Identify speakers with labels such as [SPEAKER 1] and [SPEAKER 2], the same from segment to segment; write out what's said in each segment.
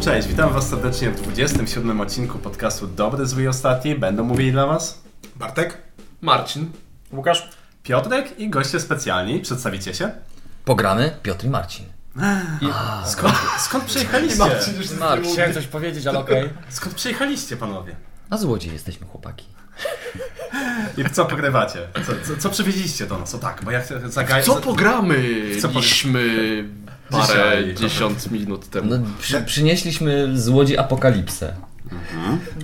[SPEAKER 1] Cześć, witam Was serdecznie w 27 odcinku podcastu Dobry, Zły i Ostatni. Będą mówili dla Was
[SPEAKER 2] Bartek?
[SPEAKER 3] Marcin.
[SPEAKER 4] Łukasz?
[SPEAKER 1] Piotrek i goście specjalni. Przedstawicie się?
[SPEAKER 5] Pogramy Piotr i Marcin.
[SPEAKER 1] Skąd, skąd przyjechaliście?
[SPEAKER 4] Chciałem coś powiedzieć, ale okej.
[SPEAKER 1] Skąd przyjechaliście, panowie?
[SPEAKER 5] A złodziej jesteśmy chłopaki.
[SPEAKER 1] I w co pogrywacie? Co, co, co przywieźliście do nas? O tak, bo ja chcę zagaj...
[SPEAKER 3] Co pogramy?
[SPEAKER 1] Co pogramy?
[SPEAKER 3] Liśmy parę
[SPEAKER 1] Dzisiaj.
[SPEAKER 3] dziesiąt minut temu.
[SPEAKER 5] No, przy, przynieśliśmy z Łodzi apokalipsę.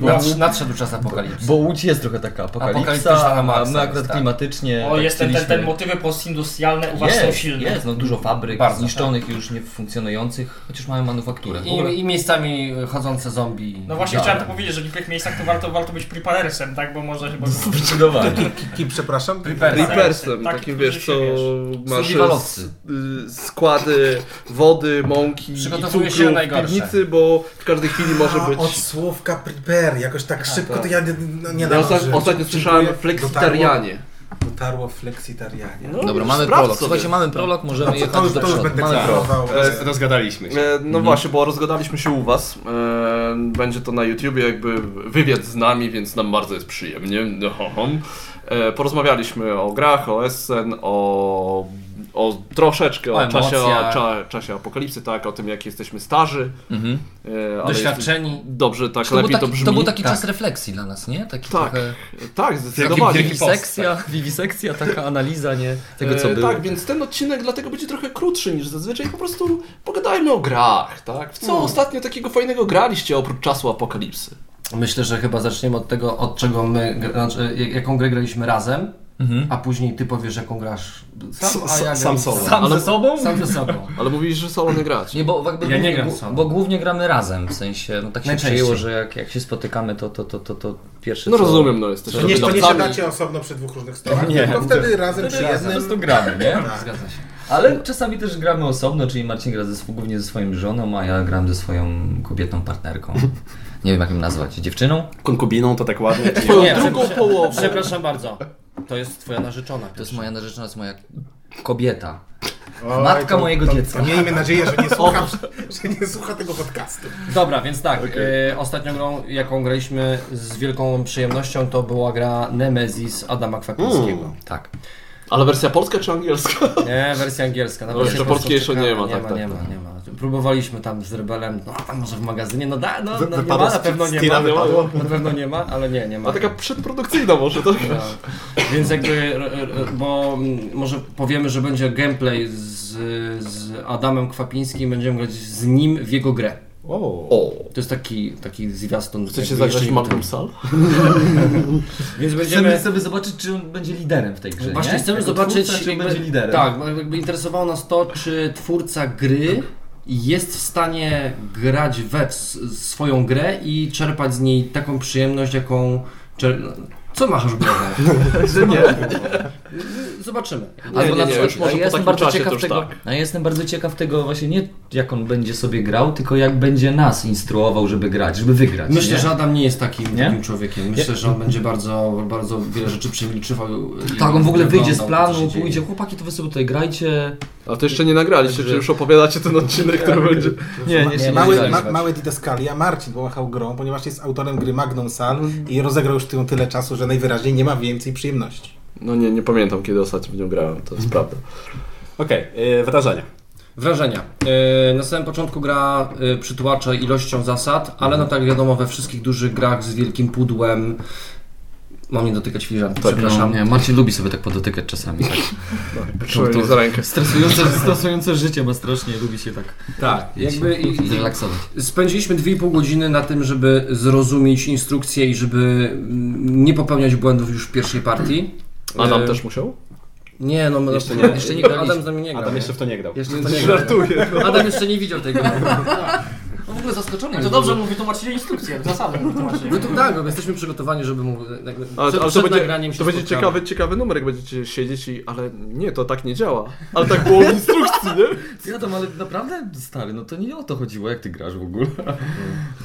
[SPEAKER 4] Nad, nadszedł czas apokalipsy.
[SPEAKER 5] Bo Łódź jest trochę taka apokalipsa,
[SPEAKER 4] Apokaliptyczna na
[SPEAKER 5] a
[SPEAKER 4] maksa
[SPEAKER 5] my
[SPEAKER 4] jest,
[SPEAKER 5] akurat
[SPEAKER 4] tak.
[SPEAKER 5] klimatycznie...
[SPEAKER 6] O,
[SPEAKER 5] tak
[SPEAKER 6] jest ten, ten,
[SPEAKER 5] chcieliśmy-
[SPEAKER 6] ten motywy postindustrialne u was są
[SPEAKER 5] Jest,
[SPEAKER 6] silne.
[SPEAKER 5] jest, no dużo fabryk
[SPEAKER 4] Bardzo,
[SPEAKER 5] zniszczonych już niefunkcjonujących, chociaż mają manufakturę.
[SPEAKER 4] I, I miejscami chodzące zombie.
[SPEAKER 6] No właśnie
[SPEAKER 5] Tak.
[SPEAKER 6] chciałem to powiedzieć, że w niektórych miejscach to warto, warto być preparersem, tak? Bo może chyba...
[SPEAKER 5] Zdecydowanie.
[SPEAKER 2] Kim, przepraszam?
[SPEAKER 3] Reapersem,
[SPEAKER 6] Tak,
[SPEAKER 3] takim
[SPEAKER 6] że
[SPEAKER 3] wiesz,
[SPEAKER 6] się
[SPEAKER 3] co masz
[SPEAKER 5] Survivalowcy.
[SPEAKER 3] s- y, składy wody, mąki i cukru
[SPEAKER 4] Przygotowuje się na
[SPEAKER 3] w
[SPEAKER 4] najgorsze.
[SPEAKER 3] piwnicy, bo w każdej chwili może być...
[SPEAKER 2] Od słówka prepare, jakoś tak szybko to ja nie, no, nie
[SPEAKER 3] Ja
[SPEAKER 2] dam
[SPEAKER 3] osta-
[SPEAKER 2] żyć.
[SPEAKER 3] ostatnio słyszałem
[SPEAKER 2] Dziękuję.
[SPEAKER 3] flexitarianie.
[SPEAKER 2] Dotarło, dotarło flexitarianie. No,
[SPEAKER 5] Dobra, mamy
[SPEAKER 3] Sprawdź
[SPEAKER 5] prolog.
[SPEAKER 3] sobie.
[SPEAKER 5] Słuchajcie, mamy prolog,
[SPEAKER 4] No
[SPEAKER 5] możemy
[SPEAKER 2] to,
[SPEAKER 5] jechać
[SPEAKER 2] to, już,
[SPEAKER 5] do
[SPEAKER 2] to już
[SPEAKER 5] przodu.
[SPEAKER 2] będę
[SPEAKER 5] Mamy prolog.
[SPEAKER 2] klarował.
[SPEAKER 3] E,
[SPEAKER 1] Rozgadaliśmy się.
[SPEAKER 3] E, No
[SPEAKER 5] Mhm.
[SPEAKER 3] właśnie, bo rozgadaliśmy się u was. E, Będzie to na YouTubie jakby wywiad z nami, więc nam bardzo jest przyjemnie. No, ho, ho. E, Porozmawialiśmy o grach, o Essen, o, o troszeczkę o,
[SPEAKER 4] O
[SPEAKER 3] czasie, o
[SPEAKER 4] emocjach.
[SPEAKER 3] cza, czasie apokalipsy, tak, o tym jak jesteśmy starzy.
[SPEAKER 5] Mhm.
[SPEAKER 3] E, ale
[SPEAKER 4] Doświadczeni.
[SPEAKER 3] jest- Dobrze, tak
[SPEAKER 5] To był
[SPEAKER 3] lepiej
[SPEAKER 5] taki,
[SPEAKER 3] to brzmi.
[SPEAKER 5] to był taki
[SPEAKER 4] Tak.
[SPEAKER 5] czas refleksji dla nas, nie? Taki
[SPEAKER 3] Tak,
[SPEAKER 5] trochę
[SPEAKER 3] tak, zdecydowanie.
[SPEAKER 1] wielki postęp.
[SPEAKER 5] wiwisekcja,
[SPEAKER 4] tak.
[SPEAKER 5] wiwisekcja, taka analiza, nie? Tego co
[SPEAKER 3] E,
[SPEAKER 5] było.
[SPEAKER 3] Tak, więc ten odcinek dlatego będzie trochę krótszy niż zazwyczaj. Po prostu pogadajmy o grach, tak? W co ostatnio takiego fajnego graliście oprócz czasu apokalipsy?
[SPEAKER 4] Myślę, że chyba zaczniemy od tego, od czego my, gra- znaczy, jak- jaką grę graliśmy razem, a później ty powiesz, jaką grasz Mhm. sam, a ja
[SPEAKER 1] sam
[SPEAKER 4] gram
[SPEAKER 1] solo.
[SPEAKER 5] Sam
[SPEAKER 3] Ale-
[SPEAKER 5] ze sobą?
[SPEAKER 4] sam ze sobą.
[SPEAKER 3] Ale mówisz, że solo nie grać.
[SPEAKER 5] Nie, bo, jakby,
[SPEAKER 4] Ja nie gram
[SPEAKER 5] bo,
[SPEAKER 4] sam.
[SPEAKER 5] bo głównie gramy razem, w sensie, no tak się
[SPEAKER 4] Najczęściej.
[SPEAKER 5] przyjęło, że jak, jak się spotykamy, to, to, to, to, to pierwsze
[SPEAKER 3] No
[SPEAKER 5] co...
[SPEAKER 3] rozumiem, no jesteś.
[SPEAKER 5] Co
[SPEAKER 2] Nie,
[SPEAKER 3] dobry
[SPEAKER 2] to nie
[SPEAKER 3] dowcami.
[SPEAKER 2] siadacie osobno przy dwóch różnych stołach,
[SPEAKER 1] Nie.
[SPEAKER 2] tylko wtedy razem przy
[SPEAKER 5] Razem, po prostu
[SPEAKER 2] jednym.
[SPEAKER 5] gramy, nie?
[SPEAKER 4] Tak, Zgadza się.
[SPEAKER 5] Ale czasami też gramy osobno, czyli Marcin gra ze, sw- głównie ze swoją żoną, a ja gram ze swoją kobietą partnerką. Nie wiem jak ją nazwać, dziewczyną?
[SPEAKER 1] Konkubiną to tak ładnie. czy nie?
[SPEAKER 3] Twoją
[SPEAKER 4] Nie,
[SPEAKER 3] drugą
[SPEAKER 4] przepraszam.
[SPEAKER 3] połowę.
[SPEAKER 4] Przepraszam bardzo. To jest twoja narzeczona.
[SPEAKER 5] To jest moja narzeczona, to jest moja kobieta.
[SPEAKER 2] Oj,
[SPEAKER 5] Matka
[SPEAKER 2] to-
[SPEAKER 5] mojego
[SPEAKER 2] to-
[SPEAKER 5] dziecka.
[SPEAKER 2] To miejmy nadzieję, że nie słucha, że nie słucha tego podcastu.
[SPEAKER 4] Dobra, więc tak. E, ostatnią grą, jaką graliśmy z wielką przyjemnością, to była gra Nemesis Adama
[SPEAKER 1] Mm.
[SPEAKER 4] Kwapińskiego.
[SPEAKER 5] Tak.
[SPEAKER 3] Ale wersja polska czy angielska?
[SPEAKER 4] Nie, wersja angielska. Na
[SPEAKER 3] No,
[SPEAKER 4] wersję
[SPEAKER 3] jeszcze
[SPEAKER 4] polską
[SPEAKER 3] polskiej jeszcze
[SPEAKER 4] czekamy.
[SPEAKER 3] nie ma,
[SPEAKER 4] nie
[SPEAKER 3] tak,
[SPEAKER 4] ma,
[SPEAKER 3] tak,
[SPEAKER 4] nie
[SPEAKER 3] tak.
[SPEAKER 4] ma, nie ma. Znaczy, Próbowaliśmy tam z Rebelem, no tam może w magazynie, no da, no,
[SPEAKER 1] Wy-
[SPEAKER 4] no nie
[SPEAKER 1] wypadło
[SPEAKER 4] ma, na
[SPEAKER 1] z-
[SPEAKER 4] pewno
[SPEAKER 1] z
[SPEAKER 4] nie
[SPEAKER 1] tira
[SPEAKER 4] ma,
[SPEAKER 1] wypadło.
[SPEAKER 4] na pewno nie ma, ale nie, nie ma.
[SPEAKER 3] A No, taka przedprodukcyjna może, tak?
[SPEAKER 4] No. Więc jakby, r- r- bo mm, może powiemy, że będzie gameplay z, z Adamem Kwapińskim, będziemy grać z nim w jego grę.
[SPEAKER 1] O.
[SPEAKER 3] O.
[SPEAKER 4] To jest taki, taki zwiastun.
[SPEAKER 3] Chcecie
[SPEAKER 4] jakby
[SPEAKER 3] zagrać
[SPEAKER 4] jeszcze-
[SPEAKER 3] Magnum Sal?
[SPEAKER 4] Więc
[SPEAKER 5] Chcemy
[SPEAKER 4] będziemy...
[SPEAKER 5] sobie zobaczyć, czy on będzie liderem w tej grze,
[SPEAKER 4] Właśnie
[SPEAKER 5] nie?
[SPEAKER 4] chcemy
[SPEAKER 5] Jako
[SPEAKER 4] zobaczyć,
[SPEAKER 5] twórca, czy on
[SPEAKER 4] jakby-
[SPEAKER 5] będzie liderem.
[SPEAKER 4] Tak, bo jakby interesowało nas to, czy twórca
[SPEAKER 5] Tak.
[SPEAKER 4] gry jest w stanie grać we w s- swoją grę i czerpać z niej taką przyjemność, jaką. Czer... Co machasz w głowę?
[SPEAKER 5] że nie.
[SPEAKER 4] Zobaczymy.
[SPEAKER 3] Nie, nie,
[SPEAKER 5] Albo na
[SPEAKER 3] nie,
[SPEAKER 5] przykład,
[SPEAKER 3] już może
[SPEAKER 5] a
[SPEAKER 3] po
[SPEAKER 5] ja jestem
[SPEAKER 3] takim
[SPEAKER 5] bardzo
[SPEAKER 3] czasie to
[SPEAKER 5] ciekaw
[SPEAKER 3] już
[SPEAKER 5] tego,
[SPEAKER 3] tak.
[SPEAKER 5] a ja jestem bardzo ciekaw tego właśnie nie jak on będzie sobie grał, tylko jak będzie nas instruował, żeby grać, żeby wygrać.
[SPEAKER 4] Myślę,
[SPEAKER 5] nie?
[SPEAKER 4] że Adam nie jest takim,
[SPEAKER 5] Nie?
[SPEAKER 4] takim człowiekiem. Myślę, że on będzie bardzo, bardzo wiele rzeczy przemilczywał. i-
[SPEAKER 5] tak, on w ogóle
[SPEAKER 4] i
[SPEAKER 5] wyjdzie z
[SPEAKER 4] oglądał to, co się
[SPEAKER 5] planu,
[SPEAKER 4] dzieje.
[SPEAKER 5] pójdzie, chłopaki, to wy sobie tutaj grajcie.
[SPEAKER 3] A to jeszcze nie nagraliście, czy już opowiadacie ten odcinek, który będzie.
[SPEAKER 5] Nie, nie, nie,
[SPEAKER 2] Mały,
[SPEAKER 5] nie,
[SPEAKER 2] ma, małe didaskalia, Marcin połachał grą, ponieważ jest autorem gry Magnum Sal i rozegrał już ją tyle czasu, że najwyraźniej nie ma więcej przyjemności.
[SPEAKER 3] No nie, nie pamiętam kiedy ostatnio w nią grałem, to jest prawda.
[SPEAKER 1] Okej, e, okay, wrażenia.
[SPEAKER 4] Wrażenia. Yy, Na samym początku gra yy, przytłacza ilością zasad, ale no tak wiadomo, we wszystkich dużych grach z wielkim pudłem mam nie dotykać filiżanki, przepraszam.
[SPEAKER 5] No, nie, Marcin lubi sobie tak podotykać czasami. Tak.
[SPEAKER 3] Czuję za rękę.
[SPEAKER 5] Stresujące, stresujące życie, bo strasznie lubi się tak
[SPEAKER 4] tak, jakby i, i,
[SPEAKER 5] zrelaksować.
[SPEAKER 4] spędziliśmy 2,5 godziny na tym, żeby zrozumieć instrukcje i żeby mm, nie popełniać błędów już w pierwszej partii.
[SPEAKER 3] A nam
[SPEAKER 2] E,
[SPEAKER 4] Yy,
[SPEAKER 3] też musiał?
[SPEAKER 4] Nie, no
[SPEAKER 1] Jeszcze
[SPEAKER 4] no,
[SPEAKER 1] nie.
[SPEAKER 4] jeszcze nie
[SPEAKER 5] graliśmy.
[SPEAKER 4] Adam z nami nie grał.
[SPEAKER 1] Adam
[SPEAKER 4] nie?
[SPEAKER 1] jeszcze w to nie grał.
[SPEAKER 4] Jeszcze
[SPEAKER 1] To
[SPEAKER 4] nie
[SPEAKER 1] nie
[SPEAKER 4] grał.
[SPEAKER 1] Żartuję.
[SPEAKER 4] Adam jeszcze nie widział tego.
[SPEAKER 5] On w ogóle zaskoczony
[SPEAKER 6] To dobrze, bo wytłumaczyli instrukcję, zasadę wytłumaczyli.
[SPEAKER 4] No to tak, bo jesteśmy przygotowani, żeby mu jakby,
[SPEAKER 3] A,
[SPEAKER 4] przed,
[SPEAKER 3] ale to
[SPEAKER 4] przed
[SPEAKER 3] będzie,
[SPEAKER 4] nagraniem się
[SPEAKER 3] to będzie
[SPEAKER 4] spotkamy.
[SPEAKER 3] ciekawy, ciekawy numer, jak będziecie siedzieć i... Ale nie, to tak nie działa. Ale tak było w instrukcji, nie?
[SPEAKER 5] Ja tam, ale naprawdę stary, no to nie o to chodziło, jak ty grasz w ogóle.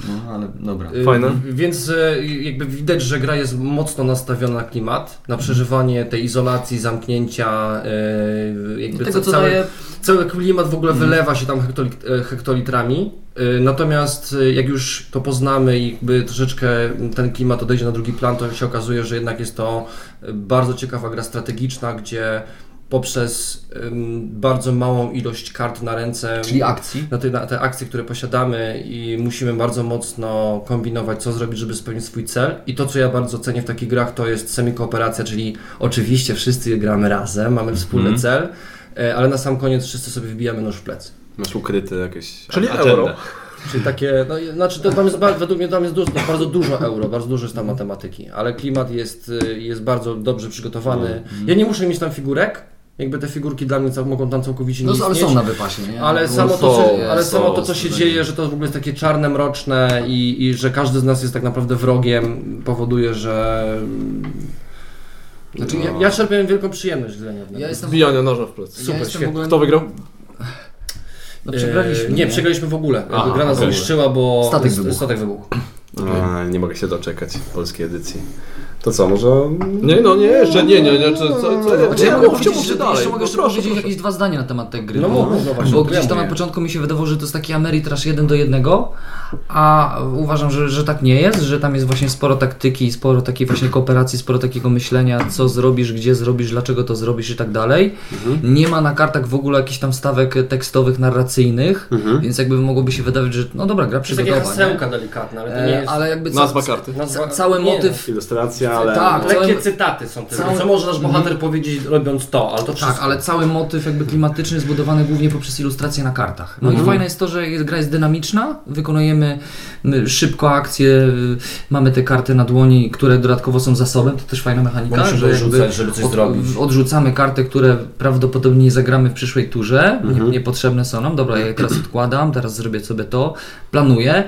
[SPEAKER 5] No, ale dobra.
[SPEAKER 4] Y,
[SPEAKER 3] Fajne.
[SPEAKER 4] w- Więc y, jakby widać, że gra jest mocno nastawiona na klimat, na przeżywanie tej izolacji, zamknięcia, y, jakby
[SPEAKER 5] Tego,
[SPEAKER 4] ca-
[SPEAKER 5] co
[SPEAKER 4] cały,
[SPEAKER 5] daje- Mhm.
[SPEAKER 4] cały klimat w ogóle wylewa się tam hektolit, e, hektolitrami. Y, Natomiast y, jak już to poznamy i jakby troszeczkę ten klimat odejdzie na drugi plan, to się okazuje, że jednak jest to y, bardzo ciekawa gra strategiczna, gdzie poprzez ym, bardzo małą ilość kart na ręce
[SPEAKER 5] Czyli akcji.
[SPEAKER 4] na te, na te akcje, które posiadamy i musimy bardzo mocno kombinować, co zrobić, żeby spełnić swój cel. I to, co ja bardzo cenię w takich grach, to jest semikooperacja, czyli oczywiście wszyscy gramy razem, mamy wspólny
[SPEAKER 5] Mhm.
[SPEAKER 4] cel, e, ale na sam koniec wszyscy sobie wbijamy nóż w plecy.
[SPEAKER 1] Masz ukryte jakieś
[SPEAKER 7] Czyli
[SPEAKER 1] agendę.
[SPEAKER 7] euro.
[SPEAKER 4] Czyli takie, no, i- znaczy to tam jest, ba- według mnie tam jest dużo, bardzo dużo euro, bardzo dużo jest tam
[SPEAKER 5] Mhm.
[SPEAKER 4] matematyki, ale klimat jest, y, jest bardzo dobrze przygotowany.
[SPEAKER 5] Mhm.
[SPEAKER 4] Ja nie muszę mieć tam figurek, jakby te figurki dla mnie cał- mogą tam całkowicie nie
[SPEAKER 5] No ale
[SPEAKER 4] istnieć.
[SPEAKER 5] są na wypasie, nie? No,
[SPEAKER 4] Ale
[SPEAKER 5] Bo
[SPEAKER 4] samo to,
[SPEAKER 7] są,
[SPEAKER 4] co, ale
[SPEAKER 7] są,
[SPEAKER 4] samo to, co się
[SPEAKER 7] są.
[SPEAKER 4] dzieje, że to w ogóle jest takie czarne, mroczne i, i że każdy z nas jest tak naprawdę wrogiem, powoduje, że... Znaczy, ja, ja czerpiałem wielką przyjemność z grania. w
[SPEAKER 5] Ja jestem, ja
[SPEAKER 7] Wbijanie noża w plecy.
[SPEAKER 5] jestem w
[SPEAKER 4] świetnie.
[SPEAKER 5] ogóle...
[SPEAKER 7] Kto wygrał?
[SPEAKER 5] No przegraliśmy.
[SPEAKER 4] Eee, nie, przegraliśmy w ogóle.
[SPEAKER 7] Aha,
[SPEAKER 4] Gra nas
[SPEAKER 7] w ogóle.
[SPEAKER 4] zniszczyła, bo
[SPEAKER 5] Statek
[SPEAKER 4] st-
[SPEAKER 5] wybuchł.
[SPEAKER 4] Statek wybuchł.
[SPEAKER 1] A, nie mogę się doczekać polskiej edycji. To co, może...
[SPEAKER 7] Nie, no nie, że nie, nie, nie, czy co, co, co,
[SPEAKER 5] Znaczy, ja
[SPEAKER 7] co,
[SPEAKER 5] mogę
[SPEAKER 7] co,
[SPEAKER 5] powiedzieć, że
[SPEAKER 7] co dalej?
[SPEAKER 5] jeszcze mogę
[SPEAKER 7] No
[SPEAKER 5] jeszcze
[SPEAKER 7] proszę,
[SPEAKER 5] powiedzieć
[SPEAKER 7] proszę.
[SPEAKER 5] jakieś dwa zdania na temat tej gry.
[SPEAKER 4] No
[SPEAKER 5] bo,
[SPEAKER 4] mów, no właśnie,
[SPEAKER 5] bo
[SPEAKER 4] to
[SPEAKER 5] gdzieś
[SPEAKER 4] ja
[SPEAKER 5] tam na
[SPEAKER 4] mówię.
[SPEAKER 5] początku mi się wydawało, że to jest taki Ameritrash jeden do jednego, a uważam, że, że tak nie jest, że tam jest właśnie sporo taktyki, sporo takiej właśnie kooperacji, sporo takiego myślenia, co zrobisz, gdzie zrobisz, dlaczego to zrobisz i tak dalej.
[SPEAKER 4] Mhm.
[SPEAKER 5] Nie ma na kartach w ogóle jakichś tam stawek tekstowych, narracyjnych,
[SPEAKER 4] Mhm.
[SPEAKER 5] więc jakby mogłoby się wydawać, że no dobra, gra
[SPEAKER 4] Przez takie
[SPEAKER 5] przygodowa.
[SPEAKER 4] hasełka delikatne, ale
[SPEAKER 5] nie?
[SPEAKER 4] to nie
[SPEAKER 5] E,
[SPEAKER 4] jest...
[SPEAKER 5] ale jakby
[SPEAKER 7] Nazwa karty.
[SPEAKER 4] Nazwa-
[SPEAKER 5] ca- cały
[SPEAKER 4] nie. no.
[SPEAKER 5] motyw
[SPEAKER 1] Ilustracja, ale...
[SPEAKER 5] Tak.
[SPEAKER 4] Lekkie
[SPEAKER 5] całym-
[SPEAKER 4] cytaty są tylko.
[SPEAKER 5] całym- Mhm.
[SPEAKER 4] Co może nasz bohater powiedzieć robiąc to, ale to
[SPEAKER 5] Tak,
[SPEAKER 4] wszystko.
[SPEAKER 5] ale cały motyw jakby klimatyczny jest budowany głównie poprzez ilustracje na kartach. No
[SPEAKER 4] Mhm.
[SPEAKER 5] i fajne jest to, że jest- gra jest dynamiczna, wykonujemy m, szybko akcje, y, mamy te karty na dłoni, które dodatkowo są zasobem, to też fajna mechanika,
[SPEAKER 4] Bo musimy
[SPEAKER 5] jakby
[SPEAKER 4] odrzucać, żeby coś zrobić.
[SPEAKER 5] odrzucamy karty, które prawdopodobnie nie zagramy w przyszłej turze,
[SPEAKER 4] Mhm.
[SPEAKER 5] nie, niepotrzebne są nam, dobra, ja je teraz odkładam, teraz zrobię sobie to, planuję.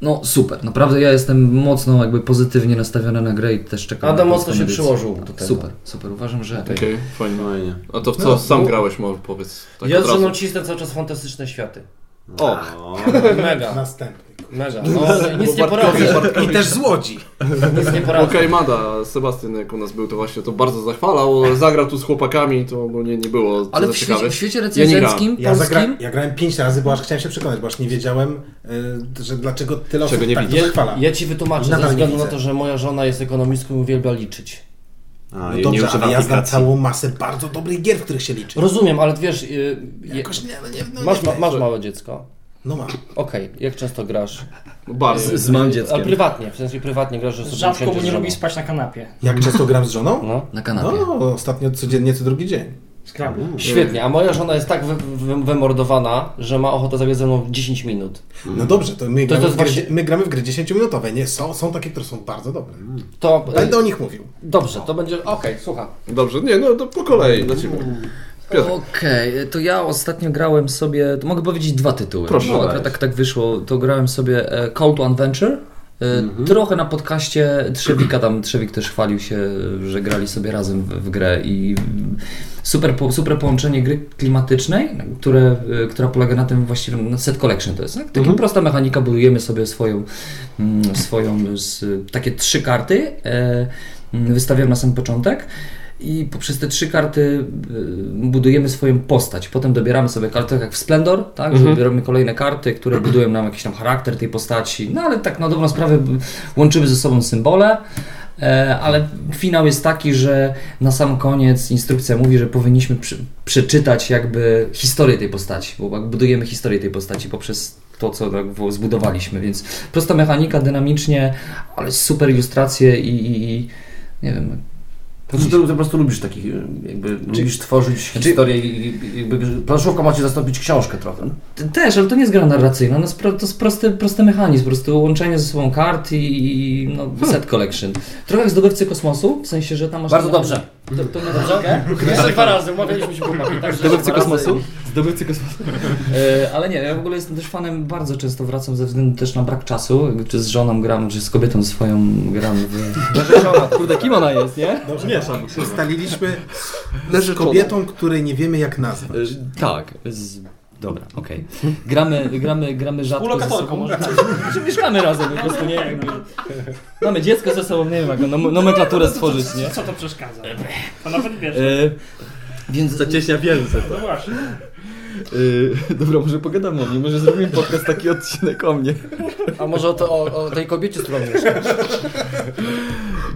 [SPEAKER 5] No super, naprawdę ja jestem mocno jakby pozytywnie nastawiony na grę i też czekam
[SPEAKER 4] Adam
[SPEAKER 5] na
[SPEAKER 4] mocno
[SPEAKER 5] polską
[SPEAKER 4] się
[SPEAKER 5] edycję.
[SPEAKER 4] przyłożył do tego.
[SPEAKER 5] Super, super, uważam, że...
[SPEAKER 7] Okej, fajnie.
[SPEAKER 1] Fajnie.
[SPEAKER 7] A to w co
[SPEAKER 4] No,
[SPEAKER 7] sam
[SPEAKER 4] bo-
[SPEAKER 7] grałeś, może powiedz. Tak
[SPEAKER 4] ja
[SPEAKER 7] od
[SPEAKER 4] z
[SPEAKER 7] razu.
[SPEAKER 4] żoną cisnę cały czas fantastyczne światy.
[SPEAKER 7] O,
[SPEAKER 1] O,
[SPEAKER 4] Mega,
[SPEAKER 2] Następny.
[SPEAKER 4] mega. No, nic nie
[SPEAKER 7] Bartkowi,
[SPEAKER 4] porobię,
[SPEAKER 2] I też z Łodzi.
[SPEAKER 4] nic nie
[SPEAKER 7] Okej,
[SPEAKER 4] porobię.
[SPEAKER 7] Mada, Sebastian jak u nas był, to właśnie to bardzo zachwalał, zagrał tu z chłopakami, to ogólnie nie było
[SPEAKER 5] Ale
[SPEAKER 7] za
[SPEAKER 5] w świecie,
[SPEAKER 7] ciekawe.
[SPEAKER 5] w świecie
[SPEAKER 7] Ja nie
[SPEAKER 5] recenzenckim,
[SPEAKER 7] grałem.
[SPEAKER 2] Ja,
[SPEAKER 5] polskim,
[SPEAKER 2] zagra- ja grałem pięć razy, bo aż chciałem się przekonać, bo aż nie wiedziałem, y, że dlaczego tyle osób
[SPEAKER 1] Czego nie
[SPEAKER 2] tak to
[SPEAKER 1] widzisz?
[SPEAKER 2] zachwala.
[SPEAKER 4] Ja ci wytłumaczę,
[SPEAKER 2] Nadal
[SPEAKER 4] ze
[SPEAKER 2] nie
[SPEAKER 4] względu
[SPEAKER 2] widzę.
[SPEAKER 4] na to, że moja żona jest ekonomistką i uwielbia liczyć.
[SPEAKER 1] A,
[SPEAKER 2] No
[SPEAKER 1] i
[SPEAKER 2] dobrze,
[SPEAKER 1] używa
[SPEAKER 2] ale ja znam
[SPEAKER 1] aplikacji.
[SPEAKER 2] całą masę bardzo dobrych gier, w których się liczy.
[SPEAKER 4] Rozumiem, ale wiesz, y, je,
[SPEAKER 2] Jakoś nie, no nie, no
[SPEAKER 4] masz,
[SPEAKER 2] nie
[SPEAKER 4] ma, masz małe dziecko.
[SPEAKER 2] No mam.
[SPEAKER 4] Okej, jak często grasz?
[SPEAKER 7] No, bardzo.
[SPEAKER 4] Z małym dzieckiem. Ale prywatnie, w sensie prywatnie grasz, że sobie
[SPEAKER 6] Rzadko,
[SPEAKER 4] usiądziesz
[SPEAKER 6] bo nie
[SPEAKER 4] z żoną.
[SPEAKER 6] lubi spać na kanapie.
[SPEAKER 2] Jak często gram z żoną?
[SPEAKER 4] No.
[SPEAKER 5] na kanapie.
[SPEAKER 2] No, ostatnio codziennie, co drugi dzień.
[SPEAKER 6] Skrabę.
[SPEAKER 4] Świetnie, a moja żona jest tak wy, wy, wymordowana, że ma ochotę zagrać ze mną 10 minut.
[SPEAKER 2] No dobrze, to my,
[SPEAKER 4] Mm. To- to
[SPEAKER 2] gramy, w gry,
[SPEAKER 4] właśnie-
[SPEAKER 2] my gramy w gry 10-minutowe, nie? Są, są takie, które są bardzo dobre.
[SPEAKER 4] To e,
[SPEAKER 2] Będę o nich mówił.
[SPEAKER 4] dobrze, to będzie. Okej, słucham.
[SPEAKER 7] Dobrze, nie, no to po kolei dla Ciebie. Piotr.
[SPEAKER 5] Okej, to ja ostatnio grałem sobie, to mogę powiedzieć dwa tytuły.
[SPEAKER 7] Proszę,
[SPEAKER 5] Bo
[SPEAKER 1] dawaj.
[SPEAKER 5] akurat tak, tak wyszło, to grałem sobie e, Call to Adventure. e,
[SPEAKER 7] Mhm.
[SPEAKER 5] Trochę na podcaście Trzewika, tam Trzewik też chwalił się, że grali sobie razem w, w grę i super, po, super połączenie gry klimatycznej, które, e, która polega na tym właściwie, na set collection to jest, tak? Taka
[SPEAKER 7] Mhm.
[SPEAKER 5] prosta mechanika, budujemy sobie swoją, mm, swoją z, takie trzy karty, e, mm, wystawiam na sam początek i poprzez te trzy karty y, budujemy swoją postać. Potem dobieramy sobie karty tak jak w Splendor, tak? Że dobieramy kolejne karty, które budują nam jakiś tam charakter tej postaci. No ale tak na dobrą sprawę b- łączymy ze sobą symbole. e, Ale finał jest taki, że na sam koniec instrukcja mówi, że powinniśmy przy, przeczytać jakby historię tej postaci, bo jak budujemy historię tej postaci poprzez to, co tak w- zbudowaliśmy, więc prosta mechanika, dynamicznie, ale super ilustracje i, i, i nie wiem,
[SPEAKER 4] To Znaczy, ty po prostu lubisz takich, jakby lubisz tworzyć historię i i- jakby planszówka macie zastąpić książkę trochę.
[SPEAKER 5] Też, ale to nie jest gra narracyjna, no, spro- to jest prosty, prosty mechanizm, po prostu łączenie ze sobą kart i, i no, set collection. Trochę jak zdobywcy kosmosu, w sensie, że tam masz...
[SPEAKER 4] Bardzo dobrze.
[SPEAKER 5] To, to dobrze?
[SPEAKER 4] Jeszcze dwa razy, umawialiśmy się chłopaki. tak, że
[SPEAKER 5] Zdobywcy
[SPEAKER 4] dwa razy.
[SPEAKER 5] kosmosu? Zdobywcy kosmosu. E, ale nie, ja w ogóle jestem też fanem, bardzo często wracam ze względu też na brak czasu, jakby czy z żoną gram, czy z kobietą swoją gram w... Kurde, kim ona jest, nie?
[SPEAKER 2] Dobrze, Mieszam, ustaliliśmy z kobietą, której nie wiemy jak nazwać.
[SPEAKER 5] Tak. Z... Dobra, okej. Gramy, gramy, gramy rzadko
[SPEAKER 6] Ulokatorką może.
[SPEAKER 5] Tak, że mieszkamy razem po prostu, nie wiem. no. Mamy dziecko ze sobą, nie wiem, jaką nom- nomenklaturę stworzyć, nie?
[SPEAKER 6] Co to przeszkadza? To E, tak? nawet wiesz.
[SPEAKER 5] E, więc
[SPEAKER 1] Zacieśnia więcej.
[SPEAKER 6] No właśnie.
[SPEAKER 5] Yy, dobra, może pogadamy o mnie, może zrobimy podcast taki odcinek o mnie.
[SPEAKER 4] A może o, to, o, o tej kobiecie, z którą mieszkasz?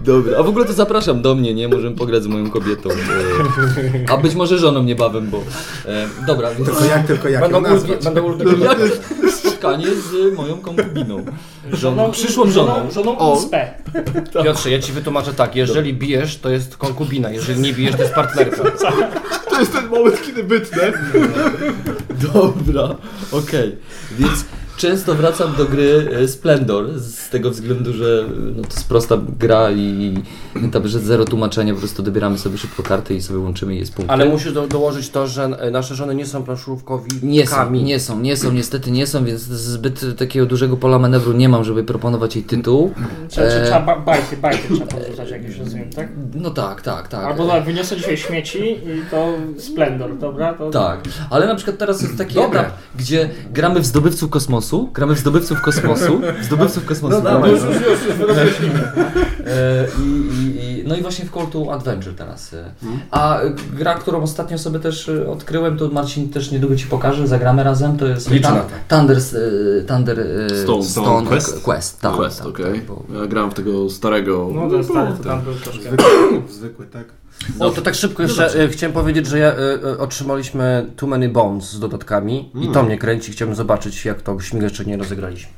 [SPEAKER 5] Dobra, a w ogóle to zapraszam do mnie, nie? Możemy pograć z moją kobietą. yy, A być może żoną niebawem, bo... yy, Dobra, więc...
[SPEAKER 2] Tylko jak, tylko jak ją
[SPEAKER 4] Będą ulgi,
[SPEAKER 2] nazwać?
[SPEAKER 4] będą ulgi.
[SPEAKER 5] Jak spotkanie z moją konkubiną. Żoną, No, przyszłą
[SPEAKER 6] Żoną,
[SPEAKER 5] żoną.
[SPEAKER 6] żoną
[SPEAKER 5] O.
[SPEAKER 6] USP.
[SPEAKER 4] Piotrze, ja ci wytłumaczę tak, jeżeli bijesz, to jest konkubina, jeżeli nie bijesz, to jest partnerka.
[SPEAKER 3] To jest ten moment, kiedy bytnę.
[SPEAKER 5] Dobra, okej. Więc często wracam do gry e, Splendor z tego względu, że e, no, to jest prosta gra i tam, że zero tłumaczenia, po prostu dobieramy sobie szybko karty i sobie łączymy i jest punkt.
[SPEAKER 4] Ale musisz do, dołożyć to, że e, nasze żony nie są planszówkowi.
[SPEAKER 5] nie są, nie są, nie są, niestety nie są, więc zbyt e, takiego dużego pola manewru nie mam, żeby proponować jej tytuł.
[SPEAKER 6] Trzeba,
[SPEAKER 5] E.
[SPEAKER 6] trzeba ba- bajty, bajty trzeba podrzucać, jak już rozumiem, tak?
[SPEAKER 5] No tak, tak, tak.
[SPEAKER 6] Albo dobra, wyniosę dzisiaj śmieci i to Splendor, dobra? To...
[SPEAKER 5] Tak, ale na przykład teraz jest taki
[SPEAKER 4] Dobra.
[SPEAKER 5] etap, gdzie gramy w zdobywców kosmosu, gramy w zdobywców kosmosu, w zdobywców kosmosu. gramy.
[SPEAKER 4] No już, już, już, E, i, i, i, no i właśnie w Call to Adventure teraz. e. A e, gra, którą ostatnio sobie też e, odkryłem, to Marcin też niedługo Ci pokaże, zagramy razem, to jest
[SPEAKER 8] Liczę
[SPEAKER 4] Thun-
[SPEAKER 8] na to.
[SPEAKER 5] Thunder, e, Thunder e,
[SPEAKER 3] Stone.
[SPEAKER 1] Stone
[SPEAKER 5] Quest.
[SPEAKER 1] Quest?
[SPEAKER 5] Quest, tak,
[SPEAKER 3] Quest,
[SPEAKER 5] tak,
[SPEAKER 3] okej.
[SPEAKER 5] tak, bo-
[SPEAKER 3] Ja grałem w tego starego...
[SPEAKER 6] No to stary, to tam był troszkę.
[SPEAKER 2] Zwykły, zwykły, tak.
[SPEAKER 4] O, to tak szybko jeszcze e, chciałem powiedzieć, że ja, e, e, otrzymaliśmy Too Many Bones z dodatkami i to mnie kręci, chciałbym zobaczyć jak to, byśmy jeszcze nie rozegraliśmy.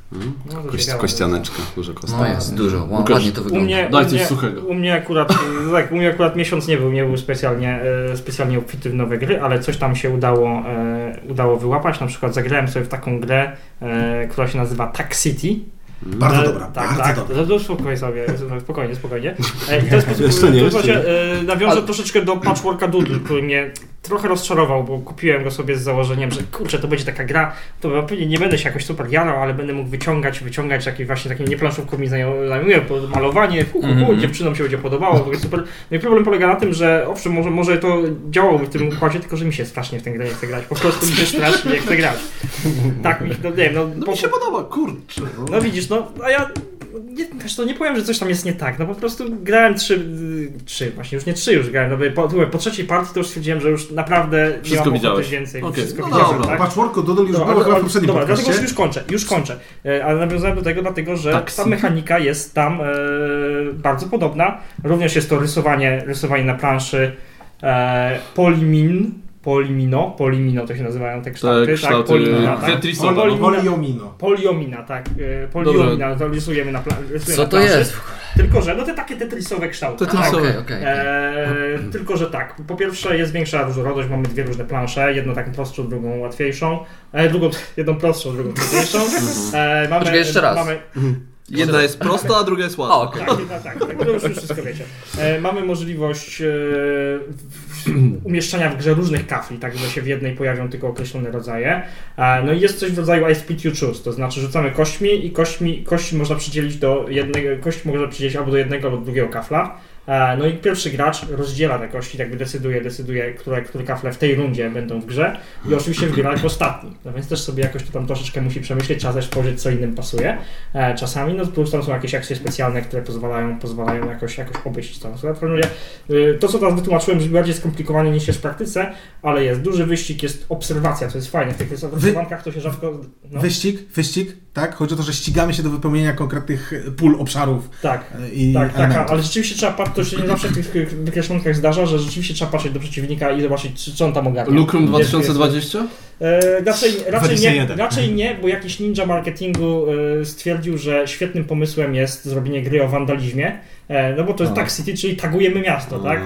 [SPEAKER 6] No, to
[SPEAKER 1] Kość,
[SPEAKER 6] ciekawe.
[SPEAKER 1] kościaneczka, dużo
[SPEAKER 5] No
[SPEAKER 1] kostek.
[SPEAKER 5] jest dużo, Ła-
[SPEAKER 3] Łukasz,
[SPEAKER 5] ładnie to
[SPEAKER 6] U
[SPEAKER 5] wygląda.
[SPEAKER 6] mnie,
[SPEAKER 3] Daj
[SPEAKER 6] u
[SPEAKER 3] coś
[SPEAKER 6] mnie,
[SPEAKER 3] suchego.
[SPEAKER 6] U mnie akurat, tak, u mnie akurat miesiąc nie był, nie był specjalnie, e, specjalnie obfity w nowe gry, ale coś tam się udało, e, udało wyłapać. Na przykład zagrałem sobie w taką grę, e, która się nazywa Tax City.
[SPEAKER 2] Bardzo
[SPEAKER 6] E,
[SPEAKER 2] dobra,
[SPEAKER 6] tak,
[SPEAKER 2] bardzo
[SPEAKER 6] tak.
[SPEAKER 2] dobra.
[SPEAKER 6] No, spokojnie sobie, spokojnie, spokojnie. E, i w ten sposób
[SPEAKER 1] Jeszcze nie,
[SPEAKER 6] to
[SPEAKER 1] jeszcze
[SPEAKER 6] się, e, nawiążę troszeczkę do Patchworka Doodle, który mnie trochę rozczarował, bo kupiłem go sobie z założeniem, że kurczę, to będzie taka gra, to pewnie nie będę się jakoś super jarał, ale będę mógł wyciągać, wyciągać jakieś właśnie takim nieplanszówką mi znają- zajmuję, bo malowanie, hu, hu, hu,
[SPEAKER 3] Mhm.
[SPEAKER 6] dziewczynom się będzie podobało, w ogóle super. No i problem polega na tym, że owszem, może, może to działałoby w tym układzie, tylko że mi się strasznie w tę grę nie chce grać, po prostu mi się strasznie nie chce grać. Tak, mi, no nie wiem, no,
[SPEAKER 3] No
[SPEAKER 6] po-
[SPEAKER 3] mi się podoba, kurczę. No.
[SPEAKER 6] no widzisz, no a ja nie, wiesz, to nie powiem, że coś tam jest nie tak. No po prostu grałem trzy, y, trzy właśnie już nie trzy już grałem, no bo po, po trzeciej partii to już stwierdziłem, że już naprawdę
[SPEAKER 3] Wszystko
[SPEAKER 6] nie mam ochoty
[SPEAKER 3] widziałeś.
[SPEAKER 6] więcej.
[SPEAKER 3] Okej,
[SPEAKER 6] Wszystko
[SPEAKER 3] no
[SPEAKER 6] widziałem,
[SPEAKER 3] dobra,
[SPEAKER 6] tak?
[SPEAKER 2] Patchworku Doodle już
[SPEAKER 6] No,
[SPEAKER 2] było
[SPEAKER 6] ale-
[SPEAKER 2] chyba w
[SPEAKER 6] ale-
[SPEAKER 2] poprzednim
[SPEAKER 6] dobra, dlatego
[SPEAKER 2] podcaście.
[SPEAKER 6] już kończę, już kończę. E, Ale nawiązałem do tego dlatego, że
[SPEAKER 3] Tak,
[SPEAKER 6] ta
[SPEAKER 3] si.
[SPEAKER 6] mechanika jest tam e, bardzo podobna. Również jest to rysowanie, rysowanie na planszy e, polimin, polimino, polimino to się nazywają te kształty,
[SPEAKER 3] Te kształty
[SPEAKER 6] polimina, tak.
[SPEAKER 3] Tetrisowe,
[SPEAKER 6] Poli-
[SPEAKER 3] no.
[SPEAKER 2] Poliomino.
[SPEAKER 6] Poliomina, tak. e, Poliomina, to rysujemy na plan. rysujemy
[SPEAKER 5] Co
[SPEAKER 6] na
[SPEAKER 5] to
[SPEAKER 6] planszy.
[SPEAKER 5] jest?
[SPEAKER 6] Tylko, że no te takie tetrisowe kształty.
[SPEAKER 5] A,
[SPEAKER 3] Tetrisowe.
[SPEAKER 5] Okej, okej.
[SPEAKER 6] E, tylko, że tak. Po pierwsze jest większa różnorodność, mamy dwie różne plansze, jedną taką prostszą, drugą łatwiejszą. E, drugą, jedną prostszą, drugą trudniejszą. E, mamy,
[SPEAKER 5] Mhm. Poczekaj, jeszcze raz.
[SPEAKER 6] Mamy,
[SPEAKER 3] Jedna jest prosta, a druga jest łatwa.
[SPEAKER 5] A, okej.
[SPEAKER 6] tak, tak, tak, tak, to już już wszystko wiecie. E, mamy możliwość e, w- umieszczania w grze różnych kafli, tak, że się w jednej pojawią tylko określone rodzaje. E, no i jest coś w rodzaju I split you choose, to znaczy rzucamy kośćmi i kośćmi, kości można przydzielić do jednego, kość można przydzielić albo do jednego, albo do drugiego kafla. E, No i pierwszy gracz rozdziela te kości, jakby decyduje, decyduje, które, które kafle w tej rundzie będą w grze i oczywiście wybiera jako ostatni. No więc też sobie jakoś to tam troszeczkę musi przemyśleć, trzeba też spojrzeć, co innym pasuje. E, Czasami, no plus tam są jakieś akcje specjalne, które pozwalają, pozwalają jakoś, jakoś obejść tą strategię. E, To, co teraz wytłumaczyłem, brzmi bardziej skomplikowanie niż jest w praktyce, ale jest duży wyścig, jest obserwacja, co jest fajne. W tych rysowankach to się rzadko... No,
[SPEAKER 2] Wyścig, wyścig, tak? Chodzi o to, że ścigamy się do wypełnienia konkretnych e, pól obszarów
[SPEAKER 6] tak.
[SPEAKER 2] e, i
[SPEAKER 6] Tak, tak,
[SPEAKER 2] elementów.
[SPEAKER 6] ale rzeczywiście trzeba patrzeć, to się nie zawsze w tych tych wykreślonkach zdarza, że rzeczywiście trzeba patrzeć do przeciwnika i zobaczyć, czy- co on tam ogarnia.
[SPEAKER 3] Lukrum
[SPEAKER 6] Gdzie tu jest-
[SPEAKER 3] 2020?
[SPEAKER 6] E, raczej, raczej, nie,
[SPEAKER 2] 21.
[SPEAKER 6] raczej nie, bo jakiś ninja marketingu e, stwierdził, że świetnym pomysłem jest zrobienie gry o wandalizmie, e, no bo to jest
[SPEAKER 5] A.
[SPEAKER 6] Tag City, czyli tagujemy miasto, tak?